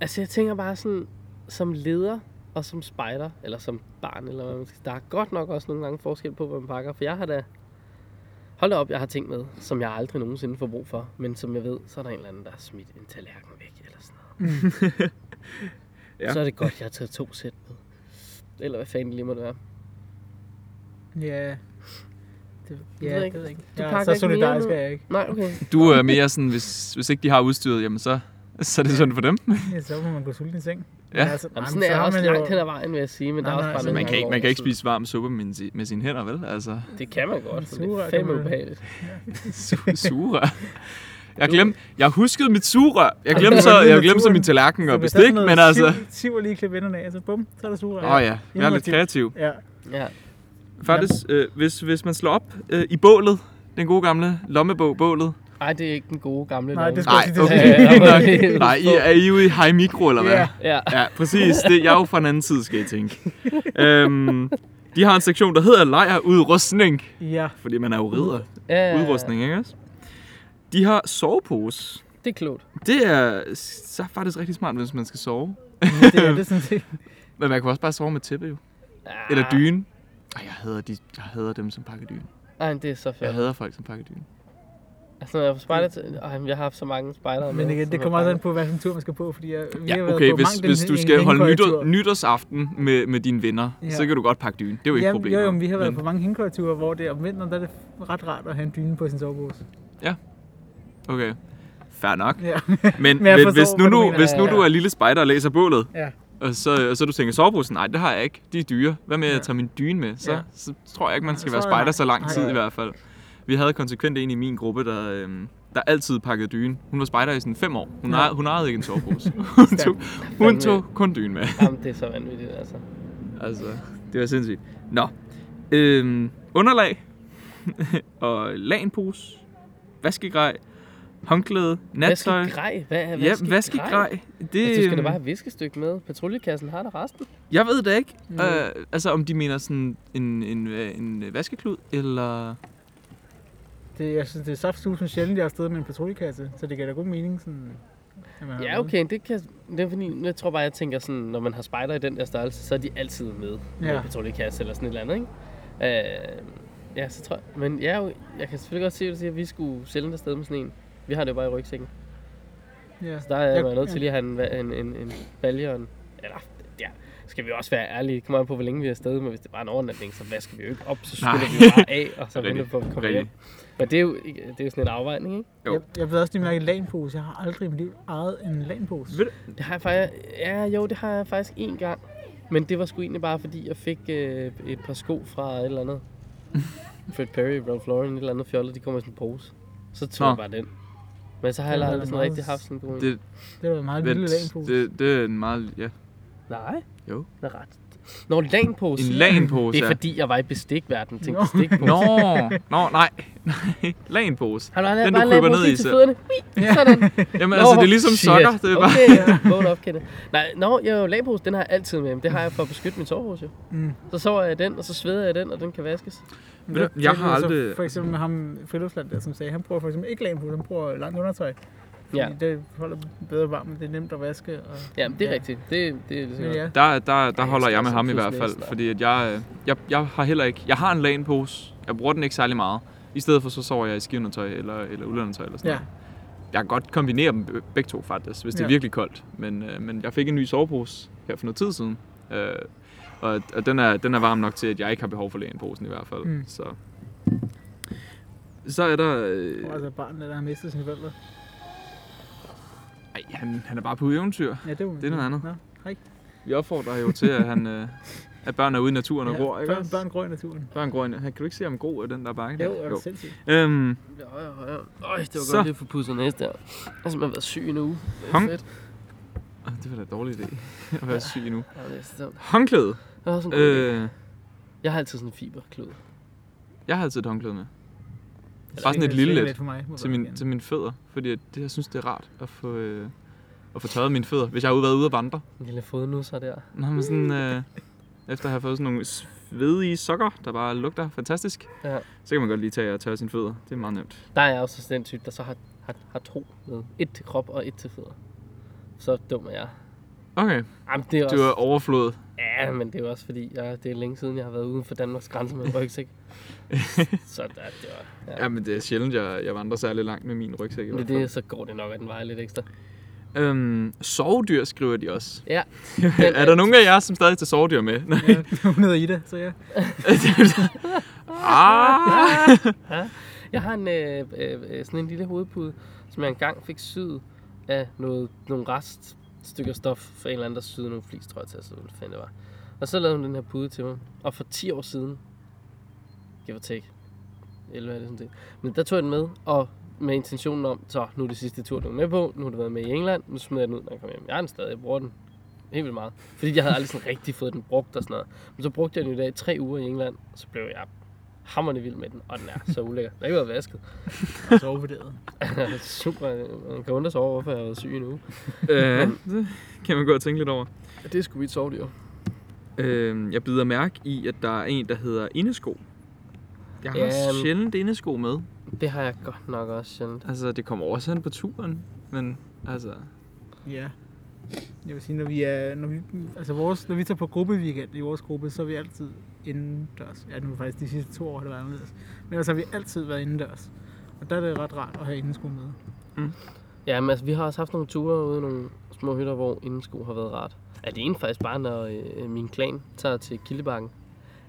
altså, jeg tænker bare sådan... Som leder og som spejder, eller som barn, eller hvad man skal... Der er godt nok også nogle gange forskel på, hvad man pakker, for jeg har da... Hold da op, jeg har ting med, som jeg aldrig nogensinde får brug for, men som jeg ved, så er der en eller anden, der har smidt en tallerken væk, eller sådan noget. Ja. ja. Så er det godt, jeg har taget to sæt med. Eller hvad fanden det lige må det være. Ja. Det, ved ja, jeg det ikke. ved jeg ikke. Du Jeg er pakker så ikke mere solidarisk nu? er jeg ikke. Nej, okay. Du er mere sådan, hvis, hvis ikke de har udstyret, jamen så, så er det sådan for dem. Ja, så må man gå sulten i seng. Ja. altså, Jamen, nej, sådan men er jeg har også man jo- langt hen ad vejen, vil jeg sige, men der Nej, er også nej, bare altså, nogle Man kan gange, ikke, hvor man kan ikke sådan- spise varm suppe med, sin- med sine hænder, vel? Altså, Det kan man godt, men det Sugerør er kan fandme man- ubehageligt. su- sugerør. Jeg glemte, jeg huskede mit sugerør. Jeg glemte så, jeg glemte så min tallerken og bestik, men altså... Siv og lige klippe enderne af, så bum, så er der sugerør. Åh oh ja, jeg er lidt Innovativt. kreativ. Ja, Ja. Faktisk, øh, hvis, hvis man slår op øh, i bålet, den gode gamle lommebog, bålet. Ej, det er ikke den gode gamle Nej, lov. det skal- Nej, sige, er okay. sådan. Ja, ja, ja. Nej, Nej, I, er I ude i high mikro, eller hvad? Ja. Ja, Ja, præcis. Det, jeg er jo fra en anden side, skal I tænke. øhm, de har en sektion, der hedder lejerudrustning, ja. fordi man er jo ridder. ja. Udrustning, ikke også? De har sovepose. Det er klogt. Det er så faktisk rigtig smart, hvis man skal sove. Det er det sådan set. Men man kan også bare sove med tæppe, jo. Ah, Eller dyne. Ej, jeg hader, de, jeg hader dem, som pakker dyne. Ej, men det er så Jeg fedt. hader folk, som pakker dyne. Altså, når jeg er på spejder til... Ej, men jeg har haft så mange spejdere Men med, igen, som det er kommer også an bange. på, hvilken tur man skal på, fordi jeg, vi har Ja, været okay, på hvis, mangt en- hvis du en skal holde hængekøjetur. nytår, nytårsaften med, med dine venner, Ja. ja. så kan du godt pakke dyne. Det er jo ikke et Jamen, problem. Jo, jo, men vi har været men, på mange hængekøjeture, hvor det om vinteren, der er det ret rart at have en dyne på sin sovepose. Okay, fair nok. Ja. Men, Men jeg men, men forstår, hvis, nu, hvad du nu, mener. hvis nu Ja, ja. du er lille spejder og læser bålet, Ja. og så, og så du tænker, soveposen, nej, det har jeg ikke. De er dyre. Hvad med, at jeg tager min dyne med? Så, Ja. ja. så tror jeg ikke, man skal Så være er det spejder så lang nej. tid Nej. i hvert fald. Vi havde konsekvent en i min gruppe, der, øhm, der altid pakkede dyne. Hun var spejder i sådan fem år. Hun, Ja. ejede, hun ejede ikke en sovepose. hun, tog, hun tog kun dyne med. Jamen, det er så vanvittigt, altså. Altså, det var sindssygt. Nå. Øhm, underlag. og lagenpose. Vaskegrej. Håndklæde. Nattøj. Vaskegrej? Hvad er Ja, vaskegrej. Det, Altså, du skal da øhm, bare have viskestykke med. Patruljekassen har der resten. Jeg ved det ikke. Mm. Øh, altså, om de mener sådan en, en, øh, en øh, vaskeklud, eller... Det, jeg synes, det er saftsusen sjældent, jeg er afsted med en patruljekasse, så det giver da god mening. Sådan, at man har Ja, noget. okay, det kan... Det er fordi, jeg tror bare, jeg tænker sådan, når man har spejder i den der størrelse, så er de altid med. Ja. Ja. Med patruljekasse eller sådan et eller andet, ikke? Øh, ja, så tror jeg... Men ja, jo, jeg kan selvfølgelig godt se, at du siger, at vi skulle sjældent afsted med sådan en. Vi har det jo bare i rygsækken. Ja. Så der er jeg Jeg- været nødt til lige at have en, va- en, en, en balje og en... Eller, ja, skal vi også være ærlige. Det kommer an på, hvor længe vi er afsted, men hvis det bare er en overnatning, så vasker vi jo ikke op, så Nej. skyller vi jo bare af, og så Rigtigt. venter på at komme Rigtigt. hjem. Men det er, jo, ikke- det er jo sådan en afvejning, ikke? Jo. Jeg, jeg ved også lige mærke en lanpose. Jeg har aldrig i mit liv ejet en lanpose. Ved- Det har jeg faktisk... Ja, jo, det har jeg faktisk én gang. Men det var sgu egentlig bare, fordi jeg fik øh, et par sko fra et eller andet. Fred Perry, Ralph Lauren, et eller andet fjollet, de kommer i sådan en pose. Så tog Nå. jeg bare den. Men så har jeg Det er aldrig da sådan meget- rigtig haft sådan en god en. Det- Det var en meget lille Vent, lanpose. det, det er en meget... Ja. Nej. Jo. Det er ret. Nå, lanpose. En lanpose. Det er ja. fordi, jeg var i bestikverden. Tænkte Nå. bestikpose. Nå, nå, nej. nej. Lanpose. Har du aldrig Den, du bare kryber lavet ned i ned i til selv. fødderne? Ui, Sådan. Jamen, altså, Nå, det er ligesom shit. sokker. Det er bare... Okay, ja. Vågn op, Kenneth. Nej, nå, jo, lagpose, den har jeg altid med. Men det har jeg for at beskytte min sovepose. Mm. Mm. Så sover jeg i den, og så sveder jeg i den, og den kan vaskes. Men Ved du, der- jeg der har er så aldrig- For eksempel med ham i friluftsland, der, som sagde, han bruger for eksempel ikke lagen på, han bruger langt undertøj. Fordi Ja. det holder bedre varmt, det er nemt at vaske. Og... Jamen, det er ja. Ja. rigtigt. Det, det er ligesom Men ja. ja, Der, der, der jeg holder skal jeg med også ham i have hvert puslevest, fald, der. fordi at jeg, øh, jeg, jeg har heller ikke... Jeg har en lanpose. Jeg bruger den ikke særlig meget. I stedet for, så sover jeg i skiundertøj eller, eller uldundertøj eller sådan ja. noget. Jeg kan godt kombinere dem be- begge to faktisk, hvis det Ja. er virkelig koldt. Men, øh, men jeg fik en ny sovepose her for noget tid siden. Øh, og og den, er, den er varm nok til, at jeg ikke har behov for lanposen i hvert fald. Mm. Mm. Så. så er der... Øh, Og altså barnet, der har mistet sine forældre. ej, han, han er bare på eventyr. Ja, det, er jo- Det er noget andet. Nå, hej. Vi opfordrer jo til, at, han, øh, at børn er ude i naturen og Ja, gror, ikke børn, også? børn gror i naturen. Børn gror i na- Kan du ikke se, om god er den der bakke? der? Jo, er det sindssygt. Øhm, Højere, højere. Øj, det var Så. godt lige at få pudset næse der. Jeg har simpelthen været syg i en uge. Det er Hong. fedt. ah, det var da en dårlig idé at være syg nu. Ja, det er så dumt. Håndklæde. Jeg har, sådan en god idé. Øh, jeg har altid sådan en fiberklud. jeg har altid et håndklæde med. Eller Bare sådan et det lille er lidt for mig, må til, jeg min, gerne. til mine fødder. Fordi at det, jeg synes, det er rart at få, øh, at få tørret mine fødder, hvis jeg har ude- været ude at vandre. En lille fodnusser der. Nå, men sådan, øh, efter at have fået sådan nogle svedige sokker, der bare lugter fantastisk, Ja. så kan man godt lige tage og tørre sine fødder. Det er meget nemt. Der er jeg også den type, der så har, har, har to med. Et til krop og et til fødder. Så dum er jeg. Okay, Jamen, det er du også... er overflod. Ja, men det er jo også fordi, jeg, det er længe siden, jeg har været uden for Danmarks grænser med en rygsæk. så der, det var... Ja. Jamen, det er sjældent, jeg, jeg vandrer særlig langt med min rygsæk. i Men hvert det, fald. er- så går det nok, at den vejer lidt ekstra. Øhm, sovedyr skriver de også. Ja. er der nogen af jer, som stadig tager sovedyr med? Nej. Ja, hun hedder Ida, så ja. ah! Jeg har en, øh, øh, øh, sådan en lille hovedpude, som jeg engang fik syet af noget, nogle reststykker stof fra en eller anden, der syede nogle flis, tror jeg, til, så hvad fanden det var. Og så lavede hun den her pude til mig. Og for 10 år siden, give or take, 11 er det sådan set, men der tog jeg den med, og med intentionen om, så nu er det sidste tur, den er med på, nu har det været med i England, nu smider jeg den ud, når jeg kommer hjem. Jeg har den stadig, jeg bruger den helt vildt meget. Fordi jeg havde aldrig sådan rigtig fået den brugt og sådan noget. Men så brugte jeg den i dag i tre uger i England, og så blev jeg hammerne vild med den, og den er så ulækker. Den har ikke været vasket. Og så overvurderet. Super, man kan undre sig over, hvorfor jeg har været syg nu. øh, det kan man gå og tænke lidt over. Det er sgu mit sovdyr. Øh, jeg bider mærke i, at der er en, der hedder indesko. Jeg har Øhm. sjældent indesko med. Det har jeg godt nok også sjældent. Altså, det kommer også hen på turen, men altså... Ja. Jeg vil sige, når vi, er, når, vi, altså vores, når vi tager på gruppeweekend i vores gruppe, så er vi altid indendørs. Ja, nu er faktisk de sidste to år, har det været anderledes. Men ellers har vi altid været indendørs. Og der er det ret rart at have indesko med. Ja, men altså, vi har også haft nogle ture ude i nogle små hytter, hvor indensko har været rart. Alene faktisk bare, når øh, min klan tager til Kildebakken.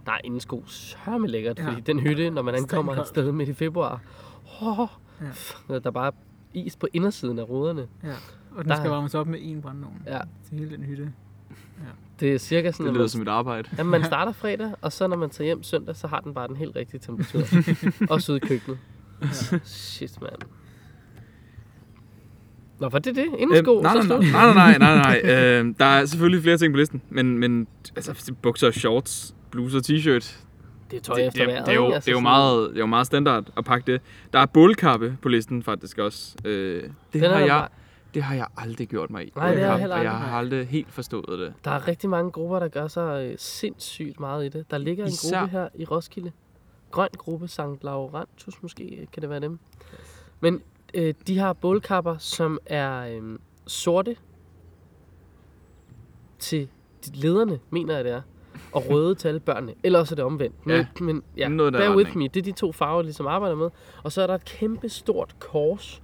Der er indensko sørme lækkert, Ja. ja. fordi den hytte, når man ankommer et Stenkoldt. sted midt i februar, oh, Ja. ja. der er bare is på indersiden af ruderne. Ja. Og den Der- skal varmes op med én brændeovn Ja, til hele den hytte. det er cirka sådan, Det at lyder man, som et arbejde. jamen, man starter fredag, og så når man tager hjem søndag, så har den bare den helt rigtige temperatur. Også ude i køkkenet. Ja. Shit, mand. Nå, var det det? Indensko? Øhm, nej, så nej, slut. nej, nej, nej, nej, nej. Øhm, der er selvfølgelig flere ting på listen, men, men altså, bukser, shorts, bluser, t-shirt, Det er tøj det, efter det, vejret, det, er jo, ikke? Altså det, er jo sådan- meget, det er jo meget standard at pakke det. Der er bålkappe på listen faktisk også. Øh, det, Den er har der jeg, bare- det har jeg aldrig gjort mig i. Nej, det har jeg Bålkappe, heller og jeg aldrig. har aldrig helt forstået det. Der er rigtig mange grupper, der gør sig øh, sindssygt meget i det. Der ligger en Især- gruppe her i Roskilde. Grøn gruppe, Sankt Laurentus måske, øh, kan det være dem. Men øh, de har bålkapper, som er øh, sorte til de- lederne, mener jeg det er. Og røde til alle børnene. Eller også er det omvendt. Men, Ja. men ja, Noget i den bear with retning. me. Det er de to farver, de ligesom arbejder med. Og så er der et kæmpe stort kors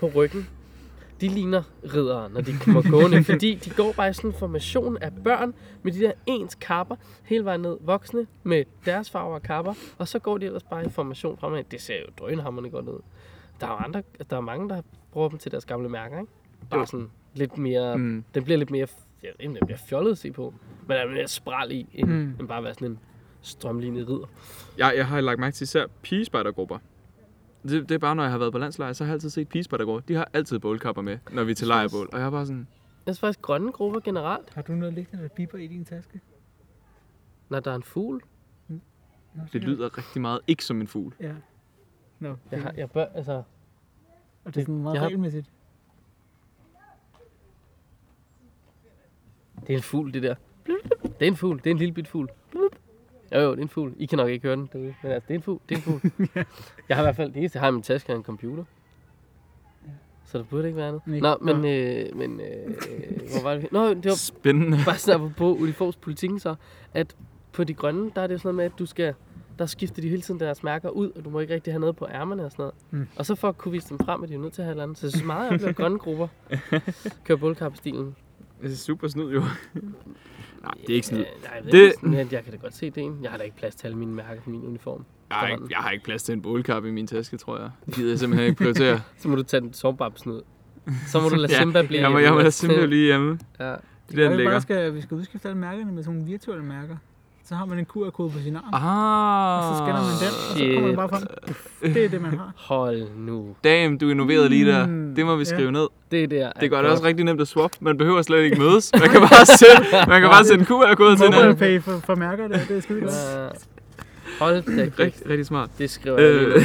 på ryggen. De ligner riddere, når de kommer gående, fordi de går bare i sådan en formation af børn med de der ens kapper hele vejen ned. Voksne med deres farver og kapper, og så går de ellers bare i formation fremad. Det ser jo drønhammerne godt ud. Der er jo andre, der er mange, der bruger dem til deres gamle mærker, ikke? Bare Jo. sådan lidt mere, mm. Mm. den bliver lidt mere, jeg ved ikke, om den bliver fjollet at se på, men der er mere spral i, end, Mm. mm. end bare at være sådan en strømlignet ridder. Jeg, jeg har lagt mærke til især pigespejdergrupper. Det, det er bare, når jeg har været på landslejr, så har jeg altid set pigespejdergrupper. De har altid bålkapper med, når vi er til lejrebål. Og jeg er bare sådan, Jeg synes faktisk, grønne grupper generelt, Har du noget liggende, der biber i din taske? Når der er en fugl. Det lyder rigtig meget ikke som en fugl. Ja. Nå, Jeg, det, har, jeg bør, altså, og det er sådan meget jeg har- regelmæssigt. det er en fugl, det der. Det er en fugl. Det er en lille bit fugl. Jo, jo, det er en fugl. I kan nok ikke høre den derude. Men altså, det er en fugl. Det er en fugl. Jeg har i hvert fald det eneste, jeg har i min taske, er en computer. Så der burde ikke være Nej. andet. Nå, men, øh, men øh, hvor var det? Nå, det var Spændende. bare sådan på uniformspolitikken så, at på de grønne, der er det jo sådan noget med, at du skal, der skifter de hele tiden deres mærker ud, og du må ikke rigtig have noget på ærmerne og sådan noget. Mm. Mm. Og så for at kunne vise dem frem, er de jo nødt til at have et eller andet. Så jeg synes meget, at jeg bliver grønne grupper. Kører bullcup-stilen. Det er super snyd, jo. Nej, det er ikke snyd. Øh, nej, jeg, ved Det- det... Ikke, men jeg kan da godt se det en. Jeg har da ikke plads til alle mine mærker på min uniform. Jeg har, ikke, jeg har ikke plads til en bålkap i min taske, tror jeg. Det gider jeg simpelthen ikke prioritere. Så må du tage den sårbabsen ud. Så må du lade Ja, Simba blive jeg må, hjemme. jeg må lade simpelthen lige hjemme. Ja. Det Det der, er den vi ligger. bare skal, vi skal udskifte alle mærkerne med sådan nogle virtuelle mærker. Så har man en QR-kode på sin arm, Ah. og så scanner man den, og så kommer den bare frem. Det er det, man har. Hold nu. Damn, du innoverede lige der. Mm, Det må vi ja. skrive ned. Det der Det gør det godt. også rigtig nemt at swap. Man behøver slet ikke mødes. Man kan bare sende, man kan bare sende QR-kode til Mobile hinanden. pay for, for mærker, det, det er skide godt. Ja. Hold da kæft. Rigtig, rigtig smart. Det skriver jeg lige Øh. ned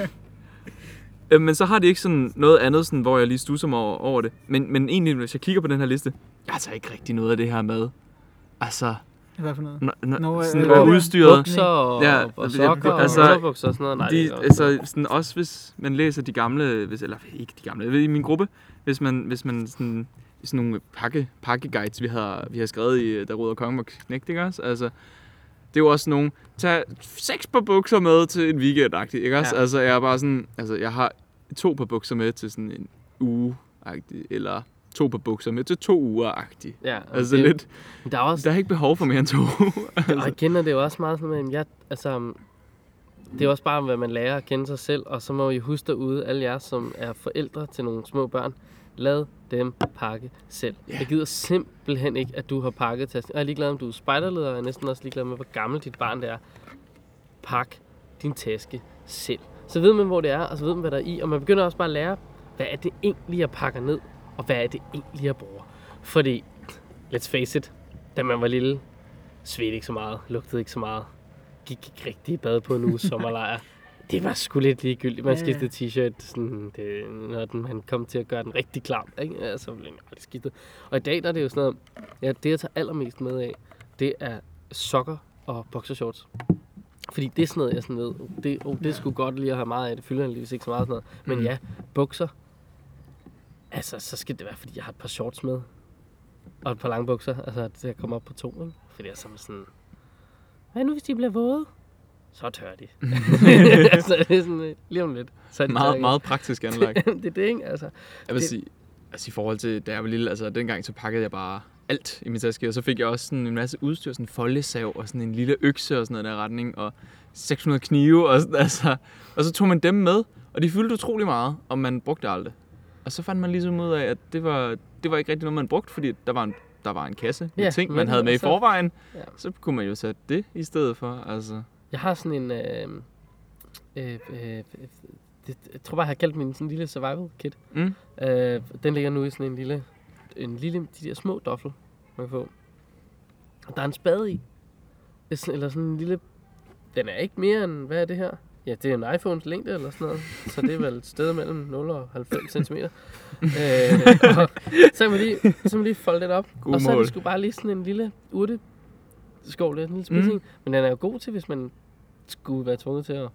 her. Øh, men så har de ikke sådan noget andet, sådan, hvor jeg lige stusser mig over, over det. Men, men egentlig, hvis jeg kigger på den her liste, jeg har altså ikke rigtig noget af det her med. Altså, Hvad for noget? n- n- Nå, øh, sådan, øh, hvor øh, udstyret... Bukser og, Ja, ja, og det- sokker altså, altså, og underbukser og sådan noget. Nej, det, de, er- altså, sådan, også hvis man læser de gamle, hvis, eller ikke de gamle, jeg ved, i min gruppe, hvis man, hvis man sådan, sådan nogle pakke, pakkeguides, vi har, vi har skrevet i, øh, der råder kongen og knægt, ikke også? Altså, det er jo også nogle, tag seks par bukser med til en weekend ikke også? Ja. Ja. Altså, jeg er bare sådan, altså, jeg har to par bukser med til sådan en uge eller to par bukser med til to uger-agtig. ja, Altså det, lidt, Der er også, der er ikke behov for mere end to der, og jeg kender det jo også meget sådan, men jeg, altså, mm, det er jo også bare, hvad man lærer at kende sig selv, og så må I huske derude, alle jer, som er forældre til nogle små børn, lad dem pakke selv. Ja. Yeah. Jeg gider simpelthen ikke, at du har pakket tasken. Og jeg er ligeglad, om du er spejderleder, og jeg er næsten også ligeglad med, hvor gammel dit barn det er. Pak din taske selv. Så ved man, hvor det er, og så ved man, hvad der er i, og man begynder også bare at lære, hvad er det egentlig, jeg pakker ned, og hvad er det egentlig, jeg bruger. Fordi, let's face it, da man var lille, svedte ikke så meget, lugtede ikke så meget, gik ikke rigtig i bad på en uge sommerlejr. Det var sgu lidt ligegyldigt. Man Ja, ja. skiftede t-shirt, sådan, det, når den, man kom til at gøre den rigtig klam. Ikke? Ja, så blev den aldrig skiftet. Og i dag der er det jo sådan noget, ja, det jeg tager allermest med af, det er sokker og boxershorts. Fordi det er sådan noget, jeg sådan ved, det, oh, det skulle godt lige at have meget af, det fylder heldigvis ikke så meget og sådan noget. Men Mm. ja, bukser, altså så skal det være, fordi jeg har et par shorts med, og et par lange bukser, altså til at komme op på to, ikke? Fordi jeg er sådan sådan, hvad nu hvis de bliver våde? Så tør de. altså, det er sådan, øh, lige om lidt. Så er de tørre meget, igen. meget praktisk anlagt. det er det, ikke? Altså, Jeg vil Det- sige, altså i forhold til, da jeg var lille, altså dengang så pakkede jeg bare alt i min taske, og så fik jeg også sådan en masse udstyr, sådan en foldesav og sådan en lille økse og sådan noget i den der retning, og 600 knive og sådan, altså. Og så tog man dem med, og de fyldte utrolig meget, og man brugte aldrig. Og så fandt man ligesom ud af, at det var, det var ikke rigtig noget, man brugte, fordi der var en, der var en kasse med Ja, ting, man men havde med i altså- forvejen. Ja. Så kunne man jo sætte det i stedet for, altså. Jeg har sådan en... Øh, øh, øh, det, jeg tror bare, jeg har kaldt min sådan lille survival kit. Mm. Øh, den ligger nu i sådan en lille... En lille de der små doffel, man kan få. Og der er en spade i. Det er sådan- Eller sådan en lille... Den er ikke mere end... Hvad er det her? Ja, det er en iPhones længde eller sådan noget. Så det er vel et sted mellem 0 og 90 cm. øh, og så kan man lige, så kan man lige folde den op. God og så er mål. det sgu bare lige sådan en lille urte skovl, en lille spidsing. Mm. Men den er jo god til, hvis man skulle være tvunget til at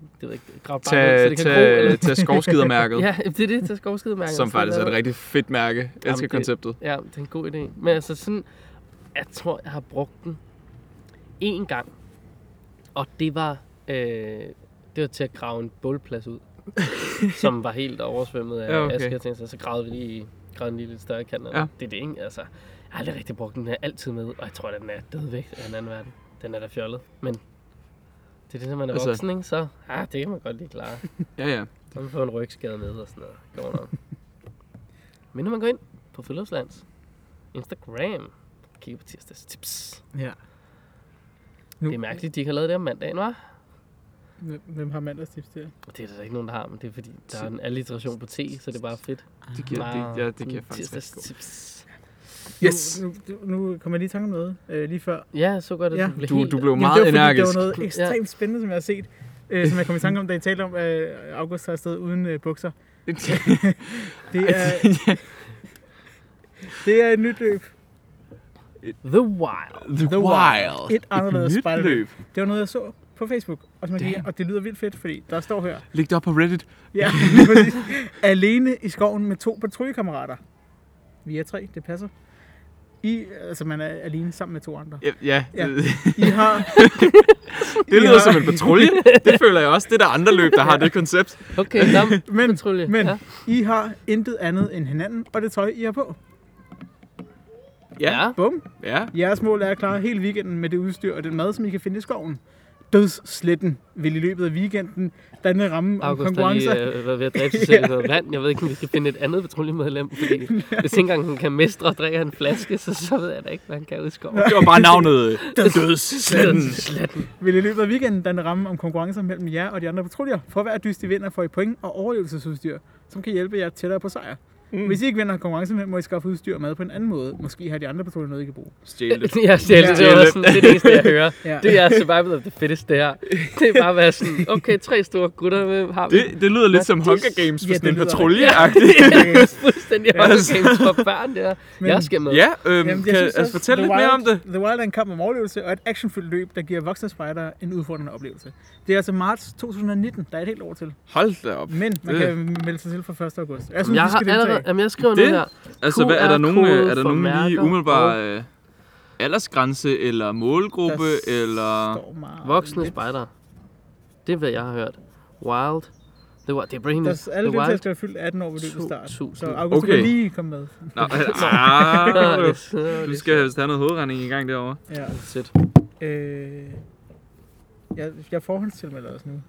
det ved jeg ikke, grave bare ned, så Tag, det kan gro. Eller, tag, tag skovskidermærket, ja, det er det, til skovskidemærket. som faktisk er et rigtig fedt mærke. Jeg elsker det- konceptet. Ja, det er en god idé. Men altså sådan, jeg tror, jeg har brugt den én gang. Og det var, øh, det var til at grave en bålplads ud, som var helt oversvømmet af Ja, ja, okay. okay. aske og ting, så, så gravede vi lige gravede en lige lidt større kant. Ja. Ja. Det er det, ikke? Altså, jeg har aldrig rigtig brugt den her altid med, og jeg tror, at den er dødvægt af en anden verden. Den er da fjollet, men det er det, når man er Altså- altså. voksen, ikke? Så ah, det kan man godt lige klare. Ja, ja. Så man får en rygskade med og sådan noget. Går nok. Men når man går ind på Friluftslands Instagram, kigger på tirsdags tips. Ja. Nu, Det er mærkeligt, de ikke har lavet det om mandagen, var. hvem- Hvem har mandagstips til? Det er der da ikke nogen, der har, men det er fordi, der er en alliteration på T, så det er bare fedt. Det giver, det, ja, det kan jeg faktisk tirsdags rigtig godt. tips. Yes. Nu, nu, nu kom jeg lige i tanke om noget øh, lige før. Ja, jeg så godt, at Ja. du blev Du, helt... du blev Jamen, det var, meget fordi, energisk. Det var noget ekstremt spændende, som jeg har set, øh, som jeg kom i tanke om, da I talte om, at August tager afsted uden øh, bukser. Det er, det er et nyt løb. The Wild. The Wild. Et anderledes Nyt spejderløb. løb. Det var noget, jeg så på Facebook, og, som jeg gik, og det lyder vildt fedt, fordi der står her, Læg det op på Reddit. ja, lige præcis. alene i skoven med to patruljekammerater. Vi er tre, det passer. I, altså man er alene sammen med to andre. Ja, ja. Ja. ja. I har det lyder Ja. som en patrulje. Det føler jeg også. Det er der andre løb, der har det koncept. Okay, nå, Men, patrulje. men ja. I har intet andet end hinanden, og det tøj, I har på. ja. Bum. Ja. Jeres mål er at klare hele weekenden med det udstyr og den mad, som I kan finde i skoven. Dødssletten vil i løbet af weekenden danne rammen om August har konkurrencer. lige øh, været ved at dræbe sig selv i noget vand. Jeg ved ikke, om vi skal finde et andet patruljemedlem, fordi hvis ikke engang han kan mestre at drikke en flaske, så, så ved jeg da ikke, hvad han kan ud i skoven. Det var bare navnet. øh, Dødsletten. Dødsletten. Vil i løbet af weekenden danne rammen om konkurrencer mellem jer og de andre patruljer. For hver dyst, I vinder, får I point og overlevelsesudstyr, som kan hjælpe jer tættere på sejr. Mm. Hvis I ikke vinder konkurrencen, må I skaffe udstyr og mad på en anden måde. Måske har de andre patruljer noget, I kan bruge. Stjæl det. Ja, sjæl, det Ja. var sådan, det er det eneste, jeg hører. Ja. Det er survival of the fittest, det her. Det er bare at være sådan, okay, tre store gutter med har vi. Det, det lyder lidt som det- Hunger Games, ja, hvis det det er en lyder patrulje Det er fuldstændig Ja. Hunger Games for børn, det her. Men- Jeg skal med. Ja, øhm, Jamen, Jamen, jeg kan, synes altså, også, fortæl The lidt Wild, mere om det. The Wild er en kamp om overlevelse og et actionfyldt løb, der giver voksne spejdere en udfordrende oplevelse. Det er altså marts 2019, der er et helt år til. Hold da op. Men man Det- kan melde sig til fra 1. august. Jeg synes, Øh. Jeg jeg vi har skal deltage. allerede, jamen jeg skriver nu Det- her. Altså, hvad, er der nogen, QR-kode øh, er der for nogen lige mærker umiddelbar og- øh, aldersgrænse, eller målgruppe, Der eller... står meget Voksne lidt. spejdere. Det er, hvad jeg har hørt. Wild. Det Mm. var, det er Brain. Der The er alle deltagere Wild. skal være fyldt 18 år ved løbet start. 2000. Så August okay. Okay. kan lige komme med. Nå, altså, ah, Ah, du skal vist have noget hovedregning i gang derovre. Ja. Sæt. Øh, jeg, jeg forhåndstilmelder os nu. Man,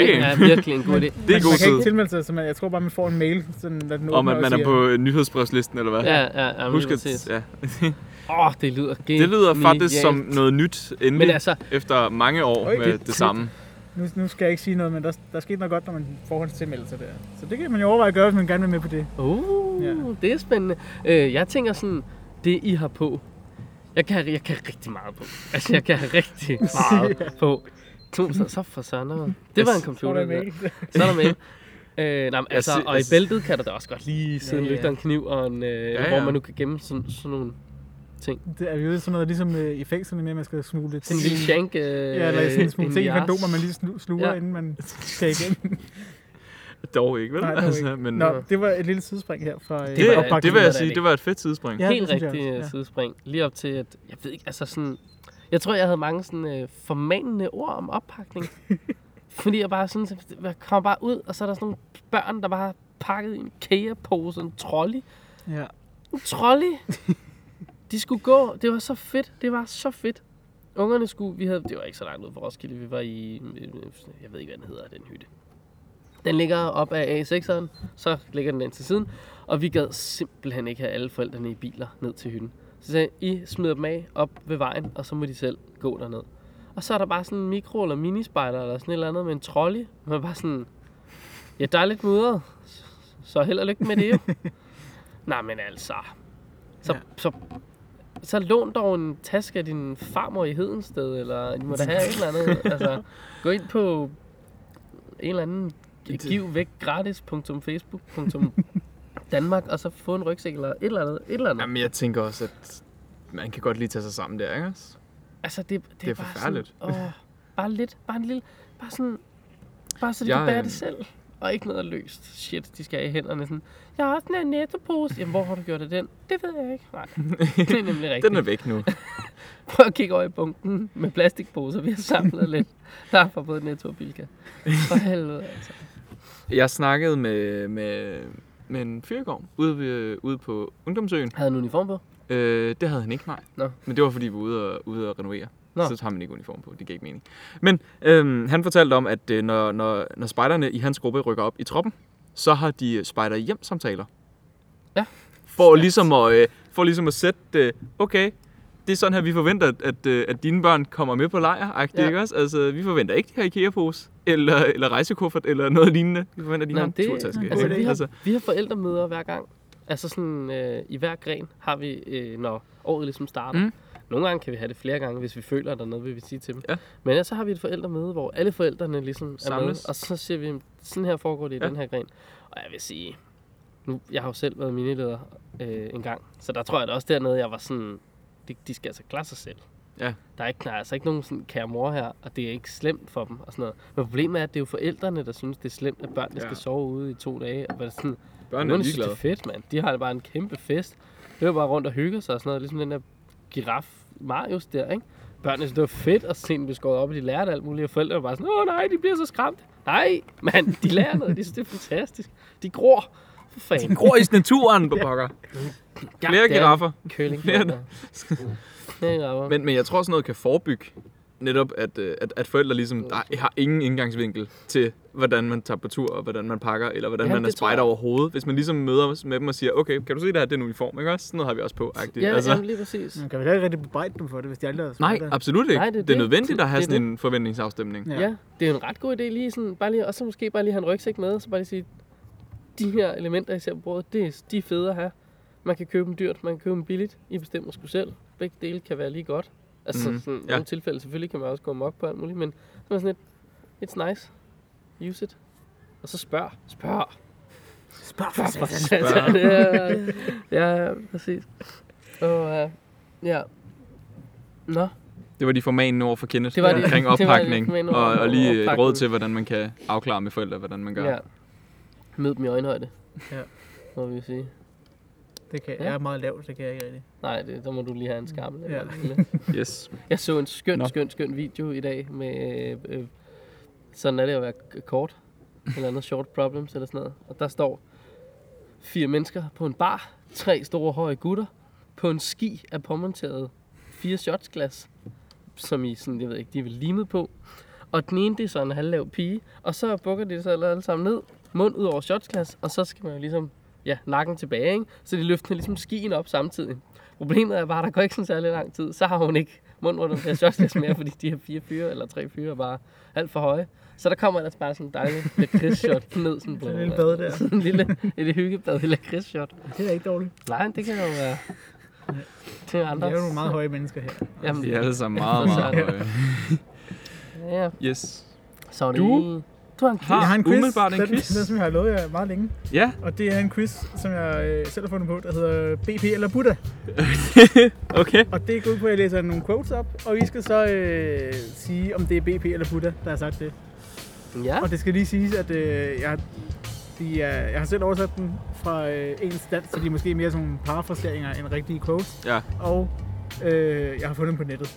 Det er Damn. virkelig en god idé. Det er man god kan ikke tid. tilmelde sig, så man, jeg tror bare, man får en mail, sådan, at den Om åbner at man og er siger, på øh, nyhedsbrevslisten, eller hvad? Ja, ja, ja. Husk Husk at... Ja. Åh, oh, det lyder genialt. Det lyder faktisk som noget nyt, Men endelig, altså, efter mange år Øj, med det- det samme. Nu, nu skal jeg ikke sige noget, men der, der skete noget godt, når man forhåndstilmelder sig der. Så det kan man jo overveje at gøre, hvis man gerne vil med på det. uh, Ja. det er spændende. Øh, jeg tænker sådan, det I har på, jeg kan, jeg kan rigtig meget på. Altså, jeg kan rigtig meget på. To, så, så for søren. mand. Det var en Tror du, computer. jeg det der. mail? Så er der med. Øh, nej, men Jeg altså, sy- og i jeg sy- bæltet kan der da også godt lige sidde ja, Ja, ja. en lygter, ja. en kniv og en, øh, ja, Ja, ja. hvor ja. man nu kan gemme sådan, sådan nogle Det er jo sådan noget, ligesom øh, i fængslerne med, at man skal smule lidt sådan en ting lille i- shank. Øh, Ja, eller sådan en smule ting i jas. kondomer, man lige snu- sluger, Ja. ja. inden man skal igen. Dog ikke, vel? Nej, dog Altså, ikke. men Nå, det var et lille sidespring her fra øh, Det var- det, det vil jeg det. sige, det var et fedt tidspring. Ja, Helt det synes jeg rigtig øh, også, ja. ja. sidespring. Lige op til, at jeg ved ikke, altså sådan... Jeg tror, jeg havde mange sådan øh, formanende ord om oppakning. fordi jeg bare sådan, jeg kommer bare ud, og så er der sådan nogle børn, der bare har pakket i en kæapose, en trolley. Ja. En trolley! De skulle gå, det var så fedt, det var så fedt. Ungerne skulle, vi havde, det var ikke så langt ud fra Roskilde, vi var i, øh, jeg ved ikke, hvad den hedder, den hytte. Den ligger op af A6'eren, så ligger den ind til siden, og vi gad simpelthen ikke have alle forældrene i biler ned til hytten. Så sagde jeg, I smider dem af op ved vejen, og så må de selv gå derned. Og så er der bare sådan en mikro- eller minispejder eller sådan et eller andet med en trolley. Man er bare sådan, ja, der er lidt mudret, så held og lykke med det jo. Nej, men altså. Så, ja. Ja. så, så lån dog en taske af din farmor i Hedensted, eller I må da have et eller andet. Altså, gå ind på en eller anden giv væk Danmark, og så få en rygsæk eller et eller andet. Et eller andet. Jamen, jeg tænker også, at man kan godt lige tage sig sammen der, ikke også? Altså, det, det, Det er bare forfærdeligt. Sådan, åh, bare lidt, bare en lille, bare sådan, bare så de Jeg, kan bære øh, det selv. Og ikke noget løst shit, de skal have i hænderne. Sådan, jeg har også en nettopose. Jamen, hvor har du gjort af den? Det ved jeg ikke. Nej, det er nemlig rigtigt. Den er væk nu. Prøv at kigge over i bunken med plastikposer, vi har samlet lidt. Der er fra både Netto og Bilka. For helvede, altså. Jeg snakkede med, med, med en fyr i går, ude, ved, ude på Ungdomsøen. Havde han uniform på? Øh, det havde han ikke, nej. Nå. Men det var, fordi vi var ude og, ude og renovere. Nå. Nå. Så har man ikke uniform på, det giver ikke mening. Men øhm, han fortalte om, at øh, når, når, når spejderne i hans gruppe rykker op i troppen, så har de øh, spejder hjem samtaler. Ja. For ligesom at, øh, for ligesom at sætte, øh, okay, det er sådan her, vi forventer, at, at, øh, at dine børn kommer med på lejr, Ja. ja. ikke også? Altså, vi forventer ikke de her IKEA-pose, eller, eller rejsekuffert, eller noget lignende. Vi forventer, at de Nå, har en det- turtaske. Altså, ikke? vi har, vi har forældremøder hver gang. Altså sådan, øh, i hver gren har vi, øh, når året ligesom starter. Mm. Mm. Nogle gange kan vi have det flere gange, hvis vi føler, at der er noget, vi vil sige til dem. Ja. Men ellers så har vi et forældremøde, hvor alle forældrene ligesom Samles. er med. Og så siger vi, sådan her foregår det i Ja. ja. den her gren. Og jeg vil sige, nu, jeg har jo selv været minileder øh, en gang. Så der tror jeg da også dernede, jeg var sådan, de, de skal altså klare sig selv. Ja. Der er ikke, nej, altså ikke nogen sådan, kære mor her, og det er ikke slemt for dem og sådan noget. Men problemet er, at det er jo forældrene, der synes, det er slemt, at børnene Ja. ja. skal sove ude i to dage. Og hvad er det sådan, Børnene er Nogen synes, det ligeglade. er fedt, mand. De har da bare en kæmpe fest. Det var bare rundt og hygge sig og sådan noget. Ligesom den der giraf Marius der, ikke? Børnene synes, det var fedt at se den blive skåret op, og de lærte alt muligt. Og forældrene var bare sådan, åh nej, de bliver så skræmt. Nej, mand, de lærer noget. De synes, det er fantastisk. De gror. For fanden. Gror i naturen på pokker. Flere giraffer. Køling. Flere- Flere giraffer. Men, men jeg tror, sådan noget kan forebygge netop, at, øh, at, at forældre ligesom Mm. der, har ingen indgangsvinkel til, hvordan man tager på tur, og hvordan man pakker, eller hvordan Jamen, man er det tror spejder jeg. overhovedet. Hvis man ligesom møder med dem og siger, okay, kan du se det her, det er en uniform, ikke også? Sådan noget har vi også på, agtigt. Ja, altså, altså, jamen, lige præcis. Man kan vel ikke rigtig bebrejde dem for det, hvis de aldrig har nej, spejder. absolut ikke. Nej, det, det er er det er det. nødvendigt at have Det er sådan en forventningsafstemning. Ja. Ja. ja, det er jo en ret god idé lige sådan, bare lige, og så måske bare lige have en rygsæk med, så bare lige sige, de her elementer, jeg ser på bordet, det, er- de er fede at have. Man kan købe dem dyrt, man kan købe dem billigt, I bestemmer sgu selv. Begge dele kan være lige godt. Altså Mhm, mm, sådan, i ja. nogle tilfælde selvfølgelig kan man også gå mok på alt muligt, men så er man sådan lidt, it's nice, use it. Og så spørg, spørg, Spørg for for satan. satan. Ja, ja, ja, præcis. Og uh, ja, nå, Det var de formanende ord for Kenneth Det var det. omkring Det var de oppakning, formanende ord og, og lige om et råd oppakning. til, hvordan man kan afklare med forældre, hvordan man gør. ja. Mød dem i øjenhøjde, Ja. må vi jo sige. Det kan jeg. jeg er meget lav, det kan jeg ikke rigtig. Nej, det, der må du lige have en skarm. Ja. Ja. Yes. Jeg så en skøn, Nå. Nå. skøn, skøn video i dag med, øh, øh, sådan er det at være k- kort, eller andet short problems eller sådan noget. Og der står fire mennesker på en bar, tre store høje gutter, på en ski af påmonteret fire shotsglas, som i sådan, jeg ved ikke, de er vel limet på. Og den ene, det er så en halvlav pige, og så bukker de så alle sammen ned, mund ud over shotsglas, og så skal man jo ligesom, ja, nakken tilbage, ikke? Så de løfter ligesom skien op samtidig. Problemet er bare, at der går ikke sådan særlig lang tid. Så har hun ikke mund rundt om det her shotsglas mere, fordi de her fire fyre eller tre fyre er bare alt for høje. Så der kommer ellers bare sådan en dejlig lakridsshot ned. Sådan, Sådan en lille bad der. Sådan en lille, et hyggebad i lakridsshot. Det er da ikke dårligt. Nej, det kan jo være til Der andre. er jo nogle meget høje mennesker her. Jamen, De er ja. alle sammen meget, meget Ja. høje. ja. Yes. Så er det Du lige- du har en har quiz. Jeg har en quiz. Ah, umiddelbart en den, quiz. Den, som jeg har lovet jer meget længe. Ja, Og det er en quiz, som jeg øh, selv har fundet på, der hedder BP eller Buddha. okay. Og det går ud på, at jeg læser nogle quotes op, og I skal så øh, sige, om det er BP eller Buddha, der har sagt det. Ja, Ah. Og det skal lige siges, at øh, jeg, de er, jeg har selv oversat den fra øh, engelsk dansk, så de er måske mere sådan nogle parafraseringer end rigtige quotes. Ja, Og øh, jeg har fundet dem på nettet.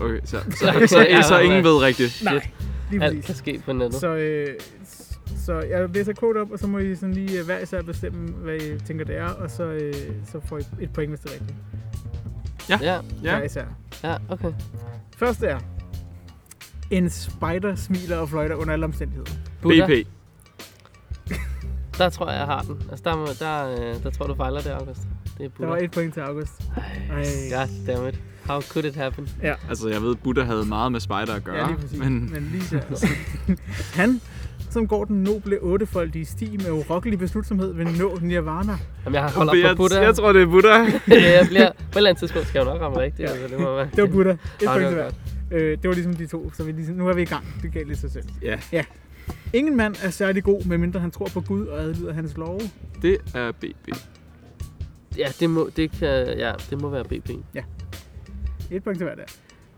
okay. Så, så, Så- så, så, så ingen ved rigtigt. Nej, lige alt kan præcis. ske på nettet. Så, øh, s- så jeg læser quote op, og så må I sådan lige øh, hver især bestemme, hvad I tænker det er, og så, øh, så får I et point, hvis det er rigtigt. Ja, Ja. Hver især. ja, okay. Første er, en spider smiler og fløjter under alle omstændigheder. Buddha, BP. der tror jeg, jeg har den. Altså, der, må, der, øh, der tror du fejler det, August. Det er Der Buddha. var et point til August. Ej, God damn it. How could it happen? Altså, jeg ved, Buddha havde meget med spejder at gøre. ja, lige præcis. Men Men lige så. Han, som går den noble ottefoldige sti med urokkelig beslutsomhed, vil nå Nirvana. Jamen, jeg holder på jeg, Buddha. jeg tror, det er Buddha. jeg bliver, på et eller andet tidspunkt skal jeg jo nok ramme rigtigt. Altså, det må være. Det var Buddha. Et Nå, det point var til hver. godt. Øh, det var ligesom de to, så vi ligesom, nu er vi i gang. Det gav lidt sig selv. Ja. ja. Ingen mand er særlig god, medmindre han tror på Gud og adlyder hans love. Det er BP. Ja, det må, det kan, ja, det må være BP. Et point til hver der.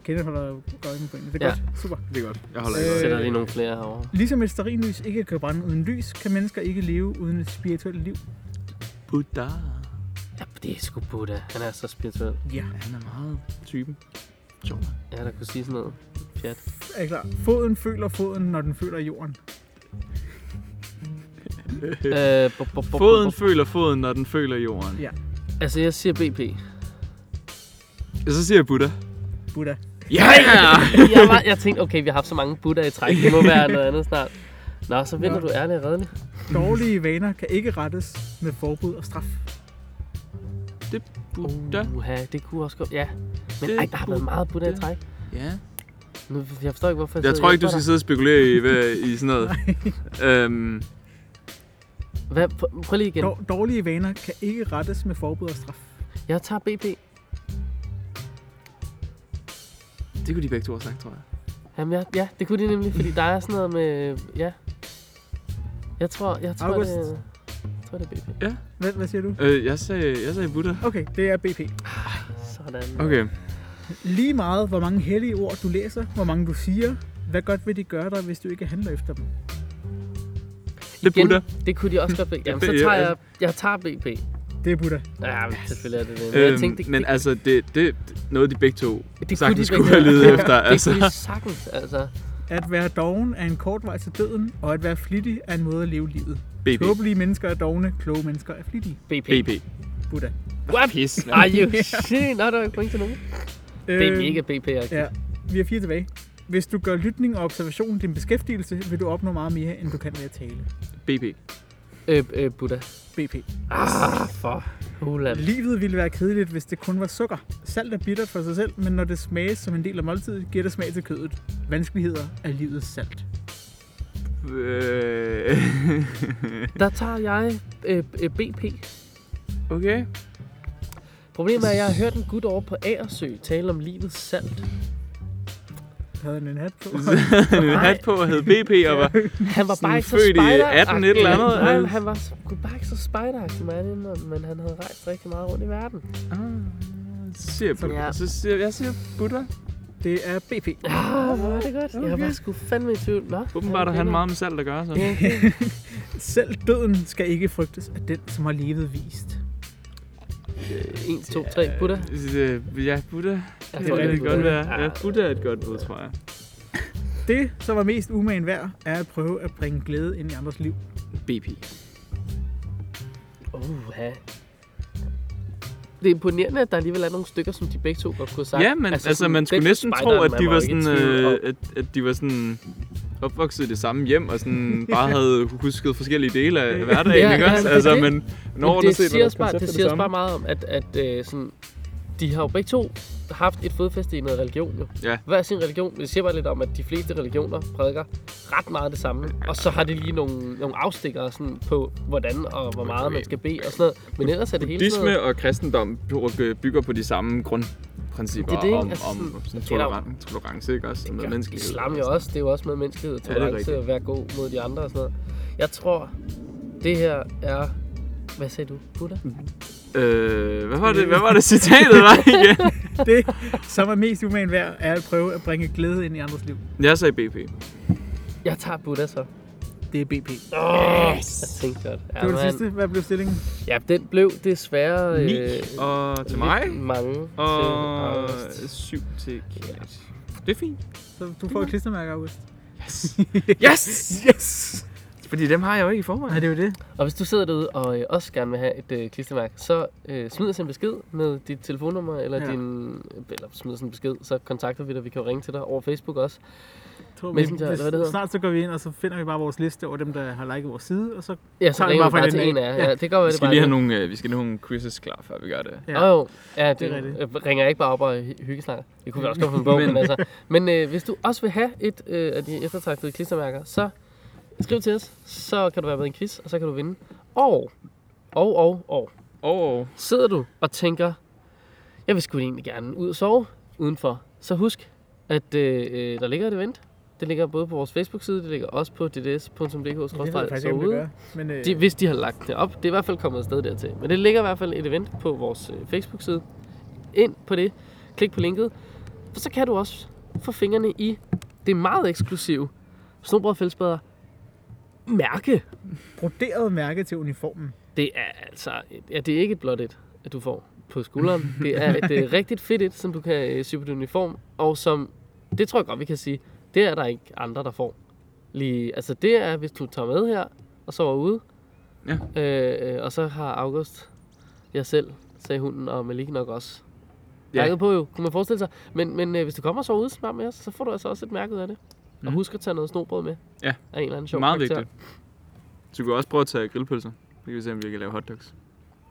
Kenneth holder jo godt med pointene. Det er Ja. ja. godt. Super. Det er godt. Jeg holder Øh, Jeg ikke sætter lige nogle flere herovre. Ligesom et stearinlys ikke kan brænde uden lys, kan mennesker ikke leve uden et spirituelt liv. Buddha. Ja, det er sgu Buddha. Han er så spirituel. Ja. Han er meget typen. Sjov. Ja, der kunne sige sådan noget. Pjat. Er I klar? Foden føler foden, når den føler jorden. Øh, bo- bo- bo- Foden bo- føler foden, når den føler jorden. Ja. bo- Altså, jeg siger BP. Og så siger jeg Buddha. Buddha. Ja! Jeg, var, jeg tænkte, okay, vi har haft så mange Buddha i træk. Det må være noget andet snart. Nå, så vinder du ærligt og redeligt. Dårlige vaner kan ikke rettes med forbud og straf. Buddha. Uha, det kunne også godt. Ja. Men Det ej, der har været meget Buddha i Buddha. træk. Ja. Nu, jeg forstår ikke, hvorfor Jeg sidder tror og ikke, du hjælper skal sidde og spekulere i, hvad, i sådan noget. øhm, Hvad, prøv, prøv lige igen. Dår, dårlige vaner kan ikke rettes med forbud og straf. Jeg tager BP. Det kunne de begge to have sagt, tror jeg. Jamen, ja, ja, det kunne de nemlig, fordi der er sådan noget med... Ja. Jeg tror, jeg tror, August. det, jeg tror det er BP. Hvad, hvad siger du? Øh, jeg sagde, jeg sagde Buddha. Okay, det er BP. Sådan. Okay. Lige meget, hvor mange hellige ord du læser, hvor mange du siger, hvad godt vil de gøre dig, hvis du ikke handler efter dem? Det er Buddha. Det kunne de også godt blive. Jamen, så det- tager ja, jeg, jeg tager BP. Det er Buddha. Ja, men selvfølgelig er det det. Men jeg Øhm, tænkte, det, men det, altså, det, det er noget, de begge to det, det kunne de sagtens skulle begge have gøre. ledet efter. Altså. Det kunne de sagtens, altså. At være doven er en kort vej til døden, og at være flittig er en måde at leve livet. BB. Tåbelige mennesker er dogne, kloge mennesker er flittige. BP. BB. Buddha. What? Pis. Are you shit? Nå, der var ikke point til nogen. Det er mega BP, ikke? Øh, Ja, Øhm, vi er fire tilbage. Hvis du gør lytning og observation din beskæftigelse, vil du opnå meget mere, end du kan ved at tale. BB. Øh, øh, Buddha. BP. Ah, for hulan. Livet ville være kedeligt, hvis det kun var sukker. Salt er bittert for sig selv, men når det smages som en del af måltidet, giver det smag til kødet. Vanskeligheder er livets salt. Øh, Der tager jeg øh, øh, BP. okay. Problemet er, at jeg har hørt en gut over på Aersø tale om livets salt. Havde han en hat på? Han havde hat på og hed BB og var... Han var Sådan bare ikke så født i spider 18 et eller andet. Nej, men han var sgu bare ikke så spider må jeg indrømme, men han havde rejst rigtig meget rundt i verden. Ah, så siger jeg Buddha. Ja. Så siger, jeg siger Buddha. Det er BP. Ah, hvor var det godt. Okay. Jeg var sgu fandme i tvivl. Nå, Åbenbart har han griner. meget med salt at gøre, så. Ja, Selv døden skal ikke frygtes af den, som har levet vist. 1, 2, 3, Buddha. Øh, Ja, Buddha. Jeg Det tror, kan er det Buddha. godt være. Ja. Ja, Buddha er et godt ord, tror jeg. Det, som var mest umagen værd, er at prøve at bringe glæde ind i andres liv. BP. Uha. Det er imponerende, at der alligevel er nogle stykker, som de begge to godt kunne have sagt. Ja, men altså, altså sådan, man skulle den næsten tro, Spider-Man at de var, jo ikke i sådan, tvivl om- øh, at, at de var sådan opvokset i det samme hjem, og sådan bare havde husket forskellige dele af hverdagen, Ja, ikke ja, også? det er Altså, det. men når Men det siger det os bare, det koncept er siger os samme. bare meget om, at, at øh, sådan, de har jo begge to haft et fodfæste i noget religion jo. Ja. Hver sin religion. Det siger bare lidt om, at de fleste religioner prædiker ret meget det samme. Og så har de lige nogle, nogle afstikker sådan, på, hvordan og hvor meget man skal bede og sådan noget. Men ellers er det hele sådan noget... Buddhisme og kristendom bygger på de samme grundprincipper Det er det, ikke? om, Altså, om, sådan- om sådan det er der jo- tolerance, tolerance, ikke også? Med menneskelighed. altså. Islam jo også. Det er jo også med menneskelighed og Ja, det er tolerance rigtigt. at være god mod de andre og sådan noget. Jeg tror, det her er... Hvad sagde du? Buddha? Mm. Øh, hvad var det, hvad var det citatet var igen? Det, som er mest umagen værd, er at prøve at bringe glæde ind i andres liv. Jeg sagde BP. Øh, Jeg tager Buddha så. Det er BP. Jeg tænkte godt. Ja, Det var det man. sidste. Hvad blev stillingen? Ja, den blev desværre... 9 øh, og til mig, Lidt mange og til August. 7 til Kate. Det er fint. Så du får et klistermærke, August. Yes! Yes! Yes! Fordi dem har jeg jo ikke i Nej, forvejen. det er jo det. Og hvis du sidder derude og øh, også gerne vil have et øh, klistermærke, så øh, smid os en besked med dit telefonnummer, eller Ja. ja. din... Eller smid os en besked, så kontakter vi dig. Vi kan jo ringe til dig over Facebook også. Tror, Messenger, eller hvad det hedder. Snart så går vi ind, og så finder vi bare vores liste over dem, der har liket vores side, og så Ja, så Tager vi ringer vi bare fra bare den til en ene. af jer. Ja. Ja, det gør vi Vi det skal bare. lige have nogle, øh, vi skal lige have nogle quizzes klar, før vi gør det. Ja. Ja. Oh, jo. Ja, det, Det er det ringer jeg ikke bare op og hy- hyggesnakker. Det kunne vi også godt finde på, men altså. Men øh, hvis du også vil have et øh, af de eftertragtede klistermærker, så skriv til os. Så kan du være med i en quiz, og så kan du vinde. Og, og, og, og. Og Sidder du og tænker, jeg vil sgu egentlig gerne ud og sove udenfor, så husk, at øh, øh, der ligger et event. Det ligger både på vores Facebook-side, det ligger også på det ved jeg dds.dk-soveude. faktisk ikke, om det gør. Men øh, De, hvis de har lagt det op. Det er i hvert fald kommet afsted dertil. Men det ligger i hvert fald et event på vores øh, Facebook-side. Ind på det. Klik på linket. For så kan du også få fingrene i det meget eksklusive Snobrød Fællesbader mærke. broderet mærke til uniformen. Det er altså... et- Ja, det er ikke et blot et, at du får på skulderen. Det er et øh, rigtigt fedt et, som du kan øh, sy på din uniform. Og som... Det tror jeg godt, vi kan sige. Det er der ikke andre, der får. Lige, altså det er, hvis du tager med her og sover ude. Ja. Øh, øh, og så har August, jeg selv, sagde hunden, og Malik nok også. Ja. Mærket på jo, kunne man forestille sig. Men, men øh, hvis du kommer og sover ude sammen med os, så får du altså også et mærke ud af det. Mm. Og husk at tage noget snobrød med. Mhm. Ja. Af en eller anden sjov meget karakter. vigtigt. Så vi kan også prøve at tage grillpølser. Så kan vi se, om vi kan lave hotdogs.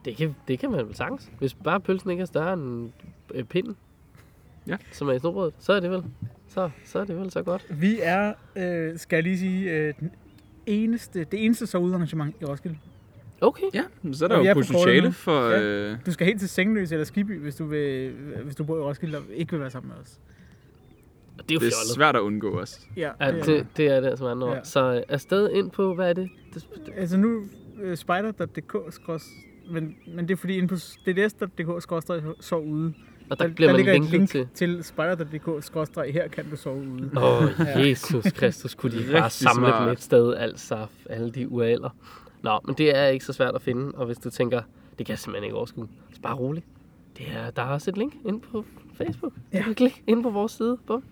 Det kan, det kan man vel sagtens. Hvis bare pølsen ikke er større end øh, pinden, Ja. som er i snobrødet, så er det vel så, så, er det vel så godt. Vi er, øh, skal jeg lige sige, øh, den eneste, det eneste sovearrangement i Roskilde. Okay. Ja, men så er der Og vi jo er på kortet nu. potentiale for... Ja. Øh, Du skal helt til Sengløs eller Skiby, hvis du, vil, hvis du bor i Roskilde og ikke vil være sammen med os. Og det er jo det fjollet. er svært at undgå os. Ja, Ja, det, det er det altså andet Ja. ja. Så øh, afsted ind på, hvad er det? det, det Altså nu uh, spider.dk skrås, men, men det er fordi inde på dds.dk skråstreg så ude. og der, der bliver man ligger linket et link til. til, til spider.dk skråstreg her kan du sove ude. Åh, oh, Jesus Kristus, kunne de ikke bare Rigtig samle dem smart. et sted, altså alle de URL'er. Nå, men det er ikke så svært at finde, og hvis du tænker, det kan jeg simpelthen ikke overskue, så bare rolig. Det er, der er også et link inde på Facebook. Ja. Du kan klikke inde på vores side. Bum.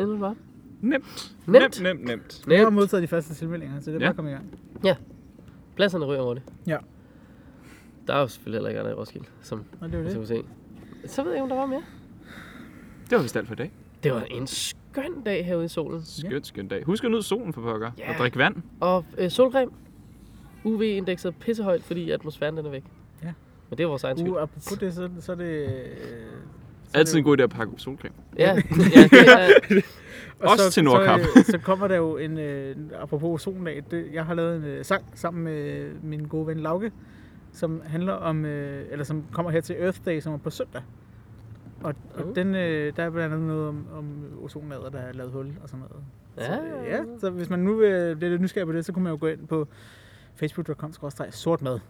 Inde på Nemt. Nemt. Nemt, nemt, nemt. Jeg har Nemt. modtaget de første tilmeldinger, så det er bare Ja. at komme i gang. Pladserne ryger hurtigt. Ja. Der er jo selvfølgelig heller ikke andre i Roskilde, som Og det er jo som det. vi se. Så ved jeg ikke, om der var mere. Det var vist alt for i dag. Det var en skøn dag herude i solen. Skønt, skønt dag. Husk at nyde solen for pokker. Ja. Og drikke vand. Og øh, solcreme. UV-indekset er pissehøjt, fordi atmosfæren den er væk. Ja. Men det er vores egen skyld. Uh, apropos det, så, så er det... øh, så er Altid en det- god idé at pakke solcreme. Ja, ja, det er, og Også til Nordkap. Så, øh, så kommer der jo en, øh, apropos soldag, det, jeg har lavet en øh, sang sammen med øh, min gode ven Lauke, som handler om, øh, eller som kommer her til Earth Day, som er på søndag. Og, og Oh. den, øh, der er blandt andet noget om, om ozonlader, der er lavet hul og sådan noget. Så, øh, ja. ja, så hvis man nu øh, bliver lidt nysgerrig på det, så kunne man jo gå ind på facebook.com-sortmad.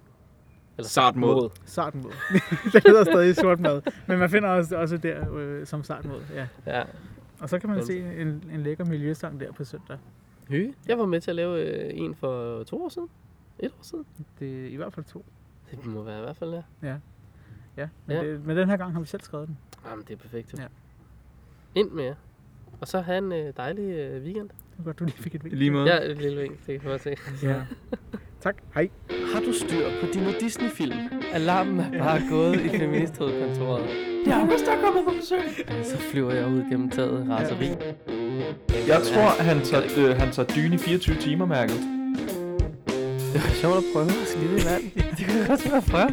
Eller Sart mod. Sartmod. det hedder stadig sortmad, men man finder også, også der øh, som sartmod. Ja. Ja. Og så kan man Fedt. se en, en lækker miljøsang der på søndag. Hø. Jeg var med til at lave øh, en for to år siden. Et år siden. Det er i hvert fald to. Det må være i hvert fald, ja. Ja, men, Ja. Det, men den her gang har vi selv skrevet den. Jamen, det er perfekt. Ja. Ja. Ind med jer. Og så have en øh, dejlig øh, weekend. Det var godt, du lige fik et I vink. lige måde. Ja, et lille vink, det kan jeg godt se. Ja. tak. Hej. Har du styr på dine Disney-film? Alarmen er bare gået i feministhovedkontoret. Jeg har lyst til at komme på besøg. Så flyver jeg ud gennem taget raseri. Jeg tror, han tager, øh, han tager dyne i 24 timer, mærket. Det var sjovt at prøve at skide i vand. Det kunne jeg også være at prøve.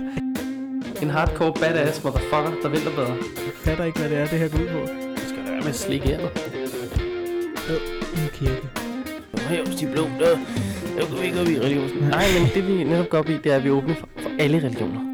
En hardcore badass motherfucker, der vil dig bedre. Jeg fatter ikke, hvad det er, det her går ud på. Du skal være med slik her. En kirke. Nå, jo, hvis de er blå, der, der går vi ikke op i religionen. Nej, men det vi netop går op i, det er, at vi åbner for, for alle religioner.